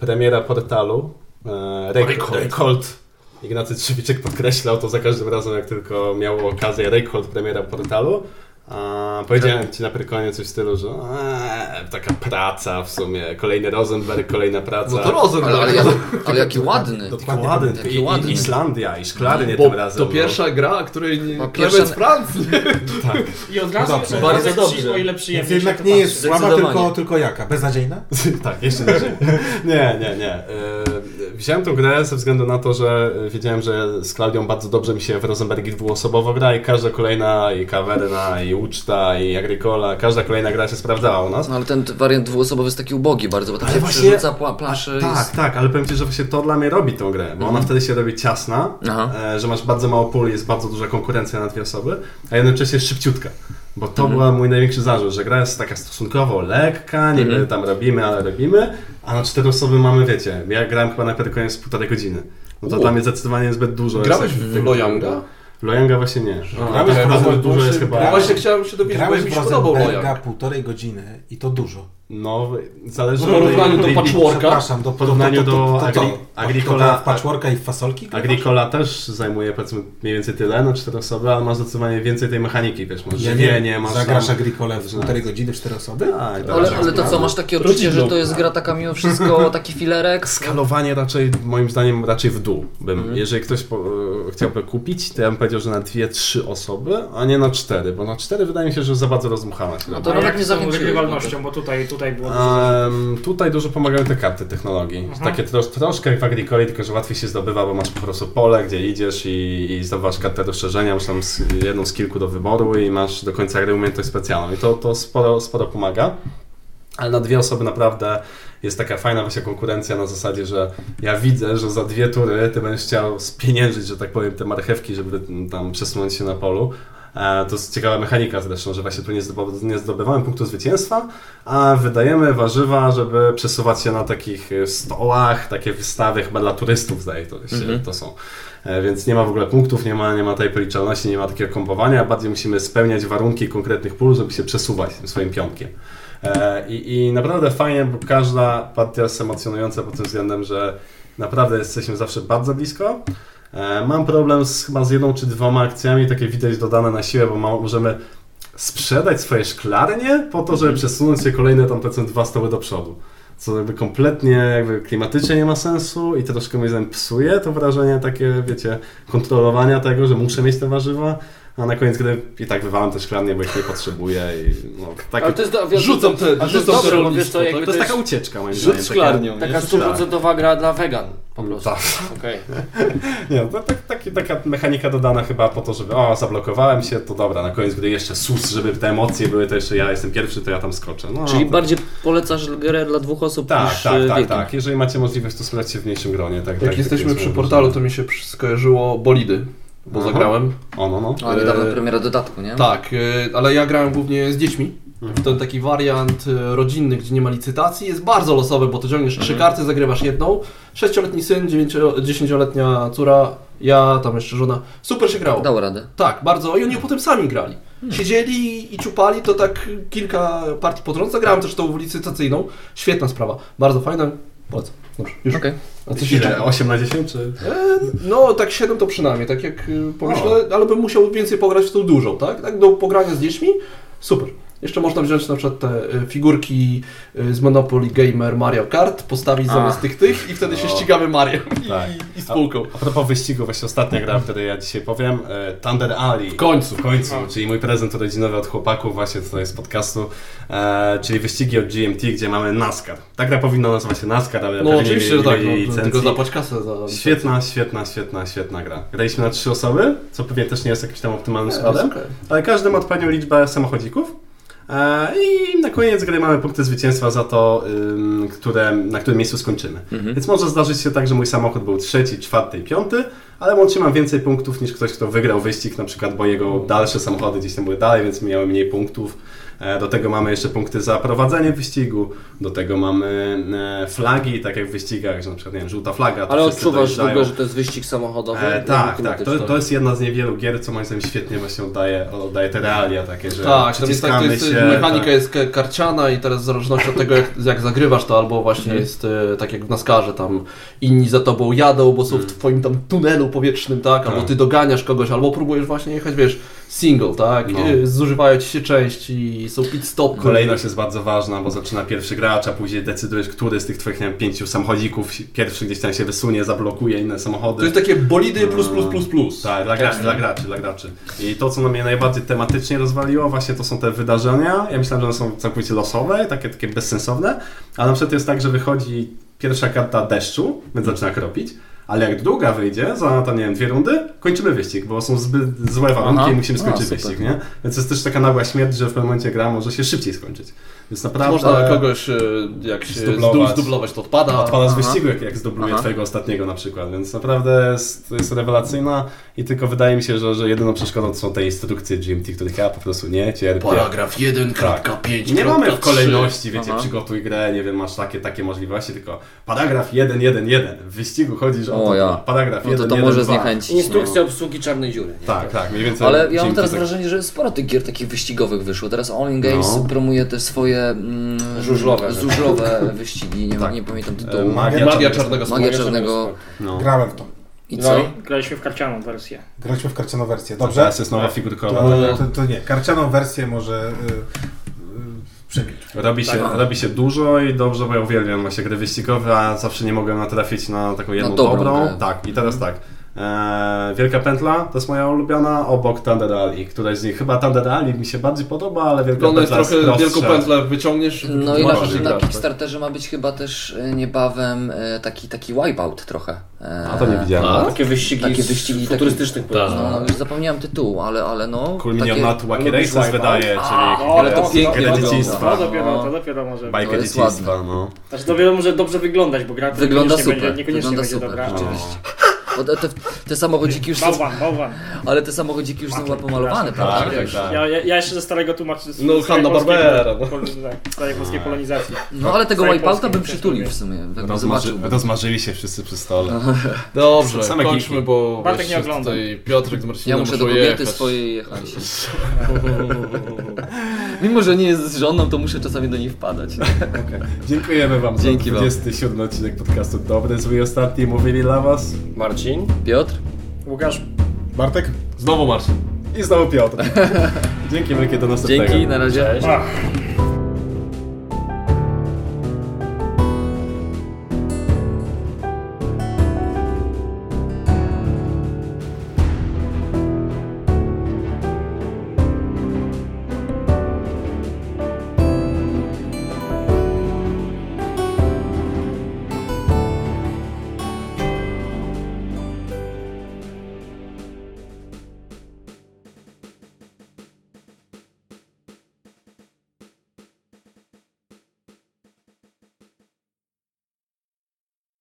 [SPEAKER 1] Premiera portalu e, Raycol- Raycold. Ignacy Trzewiczek podkreślał to za każdym razem, jak tylko miał okazję. Raycold, premiera portalu. A,
[SPEAKER 7] Tak.
[SPEAKER 1] powiedziałem Ci na Pyrkonie coś w stylu, że eee, taka praca w sumie. Kolejny Rosenberg, kolejna praca.
[SPEAKER 7] No to rozum,
[SPEAKER 5] Ale,
[SPEAKER 7] no.
[SPEAKER 5] ale, ja, ale jaki ładny.
[SPEAKER 1] Jaki ładny.
[SPEAKER 5] Jaki
[SPEAKER 1] I- i-
[SPEAKER 5] ładny.
[SPEAKER 1] Islandia i Szklarnie
[SPEAKER 7] Bo
[SPEAKER 1] tym razem.
[SPEAKER 7] to
[SPEAKER 1] no.
[SPEAKER 7] pierwsza gra, której nie...
[SPEAKER 5] No,
[SPEAKER 7] Klemens
[SPEAKER 5] pierwsza-
[SPEAKER 7] Francji.
[SPEAKER 6] I od razu
[SPEAKER 2] Dobrze.
[SPEAKER 6] bardzo
[SPEAKER 7] Bardzo
[SPEAKER 6] No dobrze.
[SPEAKER 7] dobrze.
[SPEAKER 6] o ile
[SPEAKER 2] Więc
[SPEAKER 6] przyjemnie się tak
[SPEAKER 2] jednak
[SPEAKER 6] to
[SPEAKER 2] nie
[SPEAKER 6] patrzy.
[SPEAKER 2] jest słaba,
[SPEAKER 5] Zdecydowanie.
[SPEAKER 2] tylko, tylko jaka? Beznadziejna?
[SPEAKER 1] tak, jeszcze niżej. Nie, nie, nie. Yy, Wziąłem tą grę ze względu na to, że wiedziałem, że z Klaudią bardzo dobrze mi się w Rosenbergi dwuosobowo gra i każda kolejna, i Kawerna, i Uczta, i Agricola, każda kolejna gra się sprawdzała u nas.
[SPEAKER 5] No ale ten wariant dwuosobowy jest taki ubogi bardzo, bo tam
[SPEAKER 1] Ale
[SPEAKER 5] się
[SPEAKER 1] właśnie-
[SPEAKER 5] przerzuca pla, plaszy.
[SPEAKER 1] Tak,
[SPEAKER 5] Jest...
[SPEAKER 1] tak, ale powiem Ci, że właśnie to dla mnie robi tą grę, bo ona wtedy się robi ciasna,
[SPEAKER 5] Aha.
[SPEAKER 1] e, że masz bardzo mało pól, jest bardzo duża konkurencja na dwie osoby, a jednocześnie jest szybciutka. Bo to była mój największy zarzut, że gra jest taka stosunkowo lekka, niby tam robimy, ale robimy, a na cztery osoby mamy, wiecie, ja grałem chyba na koniec półtorej godziny. No to
[SPEAKER 7] U.
[SPEAKER 1] dla mnie zdecydowanie zbyt dużo.
[SPEAKER 7] Grałeś
[SPEAKER 1] jest,
[SPEAKER 7] w Lojanga?
[SPEAKER 1] Lojanga właśnie nie.
[SPEAKER 2] Grałeś
[SPEAKER 3] tak,
[SPEAKER 2] w
[SPEAKER 1] Grałeś w
[SPEAKER 2] Rosenberg-
[SPEAKER 1] dużo jest chyba...
[SPEAKER 2] Grałeś-
[SPEAKER 7] Właśnie chciałem się dowiedzieć, bo
[SPEAKER 2] Grałeś
[SPEAKER 7] mi
[SPEAKER 2] w
[SPEAKER 7] się podobał
[SPEAKER 2] Rosenberga
[SPEAKER 7] Lojang.
[SPEAKER 2] półtorej godziny i to dużo.
[SPEAKER 1] No, zależy
[SPEAKER 3] W porównaniu do
[SPEAKER 1] tej-
[SPEAKER 3] patchworka.
[SPEAKER 2] Przepraszam, do
[SPEAKER 1] W porównaniu do Agri- Agricola-
[SPEAKER 2] Agricola. Patchworka i w fasolki?
[SPEAKER 1] Agricola też zajmuje powiedzmy mniej więcej tyle na cztery osoby, ale ma zdecydowanie więcej tej mechaniki, wiesz, masz
[SPEAKER 2] Ja
[SPEAKER 1] żywienie,
[SPEAKER 2] wiem, nie,
[SPEAKER 1] masz...
[SPEAKER 2] zagrasz
[SPEAKER 1] tam-
[SPEAKER 2] Agricolę w półtorej godziny, w cztery osoby?
[SPEAKER 1] Tak, tak,
[SPEAKER 5] Ale,
[SPEAKER 1] tak.
[SPEAKER 5] ale to co, masz takie odczucie, że to jest gra taka mimo wszystko, taki filerek?
[SPEAKER 1] Skalowanie raczej, moim zdaniem, raczej w dół bym. Jeżeli ktoś po, e, chciałby kupić, to ja bym powiedział, że na dwie, trzy osoby, a nie na cztery, bo na cztery wydaje mi się, że za bardzo rozmuchana się robi.
[SPEAKER 5] No To
[SPEAKER 6] To
[SPEAKER 5] nawet
[SPEAKER 6] jak
[SPEAKER 5] nie
[SPEAKER 6] z tą
[SPEAKER 5] zachęciłeś
[SPEAKER 6] wygrywalnością, bo tutaj, tutaj było dużo. Mhm.
[SPEAKER 1] Em, tutaj dużo pomagają te karty technologii. Takie tro, troszkę jak w Agricoli, tylko że łatwiej się zdobywa, bo masz po prostu pole, gdzie idziesz i, i zdobywasz kartę rozszerzenia, masz tam z, jedną z kilku do wyboru i masz do końca gry umiejętność specjalną. I to, to sporo, sporo pomaga. Ale na dwie osoby naprawdę jest taka fajna właśnie konkurencja na zasadzie, że ja widzę, że za dwie tury ty będziesz chciał spieniężyć, że tak powiem, te marchewki, żeby mm, tam przesunąć się na polu. E, To jest ciekawa mechanika zresztą, że właśnie tu nie, zdobywa, nie zdobywamy punktu zwycięstwa, a wydajemy warzywa, żeby przesuwać się na takich e, stołach, takie wystawy chyba dla turystów zdaje to się, to są. E, Więc nie ma w ogóle punktów, nie ma, nie ma tej policzalności, nie ma takiego kompowania, bardziej musimy spełniać warunki konkretnych pól, żeby się przesuwać tym swoim pionkiem. E, I, I naprawdę fajnie, bo każda partia jest emocjonująca pod tym względem, że naprawdę jesteśmy zawsze bardzo blisko. E, Mam problem z, chyba z jedną czy dwoma akcjami, takie widać dodane na siłę, bo ma, możemy sprzedać swoje szklarnie po to, żeby przesunąć się kolejne tam powiedzmy dwa stoły do przodu. Co jakby kompletnie jakby klimatycznie nie ma sensu i troszkę mi zdaniem psuje to wrażenie takie, wiecie, kontrolowania tego, że muszę mieć te warzywa, a na koniec gdy i tak wywalam te szklarnie, bo ich nie potrzebuję i no, takie,
[SPEAKER 3] Ale to jest, do- wiesz,
[SPEAKER 7] Rzucam te,
[SPEAKER 3] to jest
[SPEAKER 7] rzucam
[SPEAKER 3] dobre,
[SPEAKER 7] te
[SPEAKER 3] bo
[SPEAKER 7] rolnictwo,
[SPEAKER 10] wiesz co,
[SPEAKER 7] tak?
[SPEAKER 10] jakby
[SPEAKER 1] to jest taka ucieczka moim
[SPEAKER 3] Rzut
[SPEAKER 1] zdaniem. taka-
[SPEAKER 3] szklarnią. nie?
[SPEAKER 10] Taka stuprocentowa gra dla wegan po prostu.
[SPEAKER 1] Tak.
[SPEAKER 10] Okej.
[SPEAKER 1] Nie, to tak, taki- taka mechanika dodana chyba po to, żeby o, zablokowałem się, to dobra, na koniec gdy jeszcze sus, żeby te emocje były, to jeszcze ja jestem pierwszy, to ja tam skoczę. No,
[SPEAKER 3] Czyli
[SPEAKER 1] to...
[SPEAKER 3] bardziej polecasz grę dla dwóch osób
[SPEAKER 1] Tak,
[SPEAKER 3] niż
[SPEAKER 1] tak,
[SPEAKER 3] e,
[SPEAKER 1] tak,
[SPEAKER 3] wielkim.
[SPEAKER 1] tak. Jeżeli macie możliwość, to sprawdźcie w mniejszym gronie. Tak,
[SPEAKER 7] Jak
[SPEAKER 1] tak,
[SPEAKER 7] jesteśmy
[SPEAKER 1] tak
[SPEAKER 7] przy portalu, to mi się przy- skojarzyło Bolidy, bo
[SPEAKER 1] Aha.
[SPEAKER 7] zagrałem.
[SPEAKER 1] O, no, no.
[SPEAKER 5] A niedawno
[SPEAKER 7] Eee,
[SPEAKER 5] premiera dodatku, nie?
[SPEAKER 7] Tak, e, ale ja grałem głównie z dziećmi.
[SPEAKER 1] Mhm.
[SPEAKER 7] To taki wariant e, rodzinny, gdzie nie ma licytacji, jest bardzo losowy, bo ty ciągniesz trzy karty, zagrywasz jedną. Sześcioletni syn, dziewięcio- dziesięcioletnia córa, ja, tam jeszcze żona. Super się grało.
[SPEAKER 5] Dał radę.
[SPEAKER 7] Tak, bardzo. I oni potem sami grali. Siedzieli i ciupali, to tak kilka partii pod rząd. Zagrałem też tą licytacyjną. Świetna sprawa, bardzo fajna. Polecam. Dobrze, już.
[SPEAKER 5] Okej.
[SPEAKER 7] A co się
[SPEAKER 1] Ile?
[SPEAKER 7] dzieje?
[SPEAKER 1] 8 na 10 czy?
[SPEAKER 7] No, tak 7 to przynajmniej, tak jak y, pomyślę, ale bym musiał więcej pograć w tą dużą, tak? Tak do pogrania z dziećmi, super. Jeszcze można wziąć na przykład te y, figurki y, z Monopoly Gamer Mario Kart, postawić
[SPEAKER 1] A.
[SPEAKER 7] zamiast tych tych i wtedy się
[SPEAKER 1] No.
[SPEAKER 7] ścigamy Mario i,
[SPEAKER 1] Tak.
[SPEAKER 7] i, i spółką.
[SPEAKER 1] A propos wyścigu, właśnie ostatnia gra, o której ja dzisiaj powiem, e, Thunder Alley. W
[SPEAKER 7] końcu.
[SPEAKER 1] W końcu, czyli mój prezent urodzinowy od chłopaków właśnie tutaj z podcastu, e, czyli wyścigi od GMT, gdzie mamy NASCAR. Tak gra powinna nazywać się NASCAR, ale
[SPEAKER 7] No
[SPEAKER 1] pewnie
[SPEAKER 7] oczywiście,
[SPEAKER 1] nie
[SPEAKER 7] że tak,
[SPEAKER 1] mieli
[SPEAKER 7] no,
[SPEAKER 1] licencji.
[SPEAKER 7] tylko zapłać kasę za...
[SPEAKER 1] Świetna, świetna, świetna, świetna gra. Graliśmy na trzy osoby, co pewnie też nie jest jakimś tam optymalnym
[SPEAKER 7] to jest
[SPEAKER 1] składem,
[SPEAKER 7] okej.
[SPEAKER 1] ale każdy ma odpowiednią liczbę samochodzików. E, I na koniec gry mamy punkty zwycięstwa za to, ym, które, na którym miejscu skończymy.
[SPEAKER 10] Mhm.
[SPEAKER 1] Więc może zdarzyć się tak, że mój samochód był trzeci, czwarty i piąty, ale łącznie mam więcej punktów niż ktoś, kto wygrał wyścig, na przykład, bo jego dalsze samochody gdzieś tam były dalej, więc miały mniej punktów. E, Do tego mamy jeszcze punkty za prowadzenie wyścigu, do tego mamy e, flagi, tak jak w wyścigach, że na przykład, nie wiem, żółta flaga. to
[SPEAKER 10] Ale
[SPEAKER 1] wszyscy
[SPEAKER 10] odczuwasz w
[SPEAKER 1] dojeżdżają.
[SPEAKER 10] ogóle, że to jest wyścig samochodowy?
[SPEAKER 1] E, tak, tak. To,
[SPEAKER 10] Klimatyczny.
[SPEAKER 1] to jest jedna z niewielu gier, co moim zdaniem świetnie właśnie oddaje, oddaje te realia takie, że
[SPEAKER 7] Tak, tam jest, tak, to
[SPEAKER 1] przyciskamy
[SPEAKER 7] jest,
[SPEAKER 1] się.
[SPEAKER 7] mechanika
[SPEAKER 1] tak.
[SPEAKER 7] jest k- karciana i teraz w zależności od tego, jak, jak zagrywasz to, albo właśnie
[SPEAKER 1] Mhm.
[SPEAKER 7] jest e, tak jak w Naskarze, tam inni za tobą jadą, bo są w twoim tam tunelu powietrznym, tak, albo
[SPEAKER 1] Mhm. Tak.
[SPEAKER 7] ty doganiasz kogoś, albo próbujesz właśnie jechać, wiesz, single, tak,
[SPEAKER 1] No.
[SPEAKER 7] e, zużywają ci się części, są pit stopy.
[SPEAKER 1] Kolejność jest bardzo ważna, bo zaczyna pierwszy gracz, a później decydujesz, który z tych twoich nie wiem, pięciu samochodzików pierwszy gdzieś tam się wysunie, zablokuje inne samochody.
[SPEAKER 7] To jest takie bolidy plus, plus, plus, plus.
[SPEAKER 1] Tak, dla graczy, dla graczy, dla graczy. I to, co na mnie najbardziej tematycznie rozwaliło, właśnie to są te wydarzenia. Ja myślałem, że one są całkowicie losowe, takie, takie bezsensowne, ale na przykład jest tak, że wychodzi pierwsza karta deszczu, więc zaczyna kropić, ale jak druga wyjdzie, za tam, nie wiem, dwie rundy, kończymy wyścig, bo są zbyt złe warunki
[SPEAKER 5] Aha.
[SPEAKER 1] i musimy skończyć
[SPEAKER 5] A,
[SPEAKER 7] No,
[SPEAKER 5] super.
[SPEAKER 1] wyścig, nie? Więc jest też taka nagła śmierć, że w pewnym momencie gra może się szybciej skończyć. Więc naprawdę...
[SPEAKER 7] Można kogoś, e, jak się zdublować,
[SPEAKER 1] Zdublować.
[SPEAKER 7] zdublować to odpada.
[SPEAKER 1] Odpada z wyścigu, jak, jak zdubluje
[SPEAKER 5] No, Aha.
[SPEAKER 1] twojego ostatniego na przykład, więc naprawdę jest, jest rewelacyjna i tylko wydaje mi się, że, że jedyną przeszkodą są te instrukcje GMT, których ja po prostu nie cierpię.
[SPEAKER 7] Paragraf 1.5.
[SPEAKER 1] Tak. Nie mamy w kolejności, wiecie, przygotuj grę, nie wiem, masz takie, takie możliwości, tylko paragraf 1, 1, 1. W wyścigu chodzisz od to, to
[SPEAKER 5] ja.
[SPEAKER 1] paragraf
[SPEAKER 5] No to
[SPEAKER 1] jeden,
[SPEAKER 5] to
[SPEAKER 1] jeden,
[SPEAKER 5] może
[SPEAKER 1] dwa.
[SPEAKER 5] zniechęcić. no.
[SPEAKER 10] Instrukcja obsługi czarnej dziury. Nie?
[SPEAKER 1] Tak, tak, mniej więcej.
[SPEAKER 5] Ale ja mam
[SPEAKER 1] dzięki
[SPEAKER 5] teraz
[SPEAKER 1] tak-
[SPEAKER 5] wrażenie, że sporo tych gier takich wyścigowych wyszło. Teraz All In Games
[SPEAKER 1] No.
[SPEAKER 5] promuje te swoje mm,
[SPEAKER 10] Żużlowe.
[SPEAKER 5] żużlowe wyścigi, nie,
[SPEAKER 1] Tak.
[SPEAKER 5] nie pamiętam
[SPEAKER 1] E,
[SPEAKER 5] tytułu.
[SPEAKER 1] Magia,
[SPEAKER 7] Magia
[SPEAKER 1] Magia
[SPEAKER 7] czarnego
[SPEAKER 5] Magia
[SPEAKER 7] smoka.
[SPEAKER 5] Czarnego
[SPEAKER 1] No.
[SPEAKER 2] Grałem w to.
[SPEAKER 5] i co?
[SPEAKER 6] No, graliśmy w karcianą wersję.
[SPEAKER 2] Graliśmy w karcianą wersję. Dobrze?
[SPEAKER 1] Teraz jest
[SPEAKER 5] Tak.
[SPEAKER 1] nowa figurkowa.
[SPEAKER 2] To, to, to nie. Karcianą wersję może y, y, przebić.
[SPEAKER 1] Robi się, robi się dużo i dobrze, bo ja uwielbiam właśnie gry wyścigowe, a zawsze nie mogłem natrafić na taką jedną
[SPEAKER 5] dobrą
[SPEAKER 1] dobrą.
[SPEAKER 5] grę.
[SPEAKER 1] Tak, i teraz tak. Eee, Wielka Pętla to jest moja ulubiona, obok Thunder Alley. Któraś z nich, chyba Thunder Alley mi się bardziej podoba, ale Wielka
[SPEAKER 7] Wygląda jest
[SPEAKER 1] Pętla jest
[SPEAKER 7] trochę wielką
[SPEAKER 1] prostsze.
[SPEAKER 7] pętlę, wyciągniesz
[SPEAKER 5] No i
[SPEAKER 7] masz
[SPEAKER 5] na, na
[SPEAKER 7] grasz, tak?
[SPEAKER 5] Kickstarterze ma być chyba też e, niebawem e, taki, taki wipeout trochę. E,
[SPEAKER 1] A to nie widziałem.
[SPEAKER 6] Tak?
[SPEAKER 10] Takie wyścigi,
[SPEAKER 5] Takie
[SPEAKER 10] takie
[SPEAKER 5] wyścigi,
[SPEAKER 10] wyścigi
[SPEAKER 5] takie-
[SPEAKER 10] futurystycznych
[SPEAKER 5] No,
[SPEAKER 10] pojazdów.
[SPEAKER 5] no, już zapomniałem tytułu, ale, ale no...
[SPEAKER 1] Kulminion
[SPEAKER 5] takie-
[SPEAKER 1] na Wacky
[SPEAKER 10] lubisz
[SPEAKER 1] Races
[SPEAKER 10] Wipeout?
[SPEAKER 1] wydaje, czyli
[SPEAKER 6] O,
[SPEAKER 5] Ale to
[SPEAKER 6] no,
[SPEAKER 5] pięknie
[SPEAKER 6] no,
[SPEAKER 1] dzieciństwa.
[SPEAKER 6] To dopiero, to dopiero może być.
[SPEAKER 1] bajkę
[SPEAKER 5] jest
[SPEAKER 1] dzieciństwa. No.
[SPEAKER 6] Znaczy dopiero może dobrze wyglądać, bo gra
[SPEAKER 5] Wygląda
[SPEAKER 6] niekoniecznie
[SPEAKER 5] super.
[SPEAKER 6] Będzie, niekoniecznie
[SPEAKER 5] Wygląda
[SPEAKER 6] będzie
[SPEAKER 5] super,
[SPEAKER 6] dobra.
[SPEAKER 5] rzeczywiście. Bo te, te, te samochodziki już są,
[SPEAKER 6] Bałwan, bałwan.
[SPEAKER 5] ale te samochodziki już są chyba pomalowane,
[SPEAKER 4] No,
[SPEAKER 5] prawda?
[SPEAKER 1] Tak, tak, tak.
[SPEAKER 6] Ja, ja, ja jeszcze ze starego tłumaczę. z-
[SPEAKER 7] No,
[SPEAKER 6] z starej
[SPEAKER 7] Hanna-Barbera,
[SPEAKER 6] polskiej- pol- tak, Starej polskiej polonizacji.
[SPEAKER 5] No ale tego
[SPEAKER 6] Całej
[SPEAKER 5] wipeouta
[SPEAKER 6] Polski
[SPEAKER 5] bym
[SPEAKER 6] też
[SPEAKER 5] przytulił
[SPEAKER 6] lubię.
[SPEAKER 5] w sumie, jakbym
[SPEAKER 1] Rozmarzy,
[SPEAKER 5] zobaczył.
[SPEAKER 1] rozmarzyli się wszyscy przy stole.
[SPEAKER 7] tak? Dobrze,
[SPEAKER 1] Same
[SPEAKER 7] kończmy,
[SPEAKER 1] geeki.
[SPEAKER 7] bo
[SPEAKER 6] Bartek
[SPEAKER 7] jeszcze
[SPEAKER 6] nie ogląda.
[SPEAKER 7] tutaj Piotrek z Marcinem
[SPEAKER 5] Ja muszę do
[SPEAKER 7] muszą
[SPEAKER 5] kobiety
[SPEAKER 7] jechać.
[SPEAKER 5] swojej jechać.
[SPEAKER 3] Mimo, że nie jest z żoną, to muszę czasami do niej wpadać.
[SPEAKER 1] Dziękujemy Wam
[SPEAKER 3] Dzięki
[SPEAKER 1] za
[SPEAKER 3] wam.
[SPEAKER 1] 27 odcinek podcastu Dobry, Zły i Ostatni. Mówili dla Was
[SPEAKER 10] Marcin?
[SPEAKER 3] Piotr?
[SPEAKER 6] Łukasz,
[SPEAKER 2] Bartek?
[SPEAKER 7] Znowu Marcin.
[SPEAKER 1] i znowu Piotr. Dzięki wielkie, do następnego.
[SPEAKER 5] Tak.
[SPEAKER 3] Dzięki, na razie.
[SPEAKER 6] ach.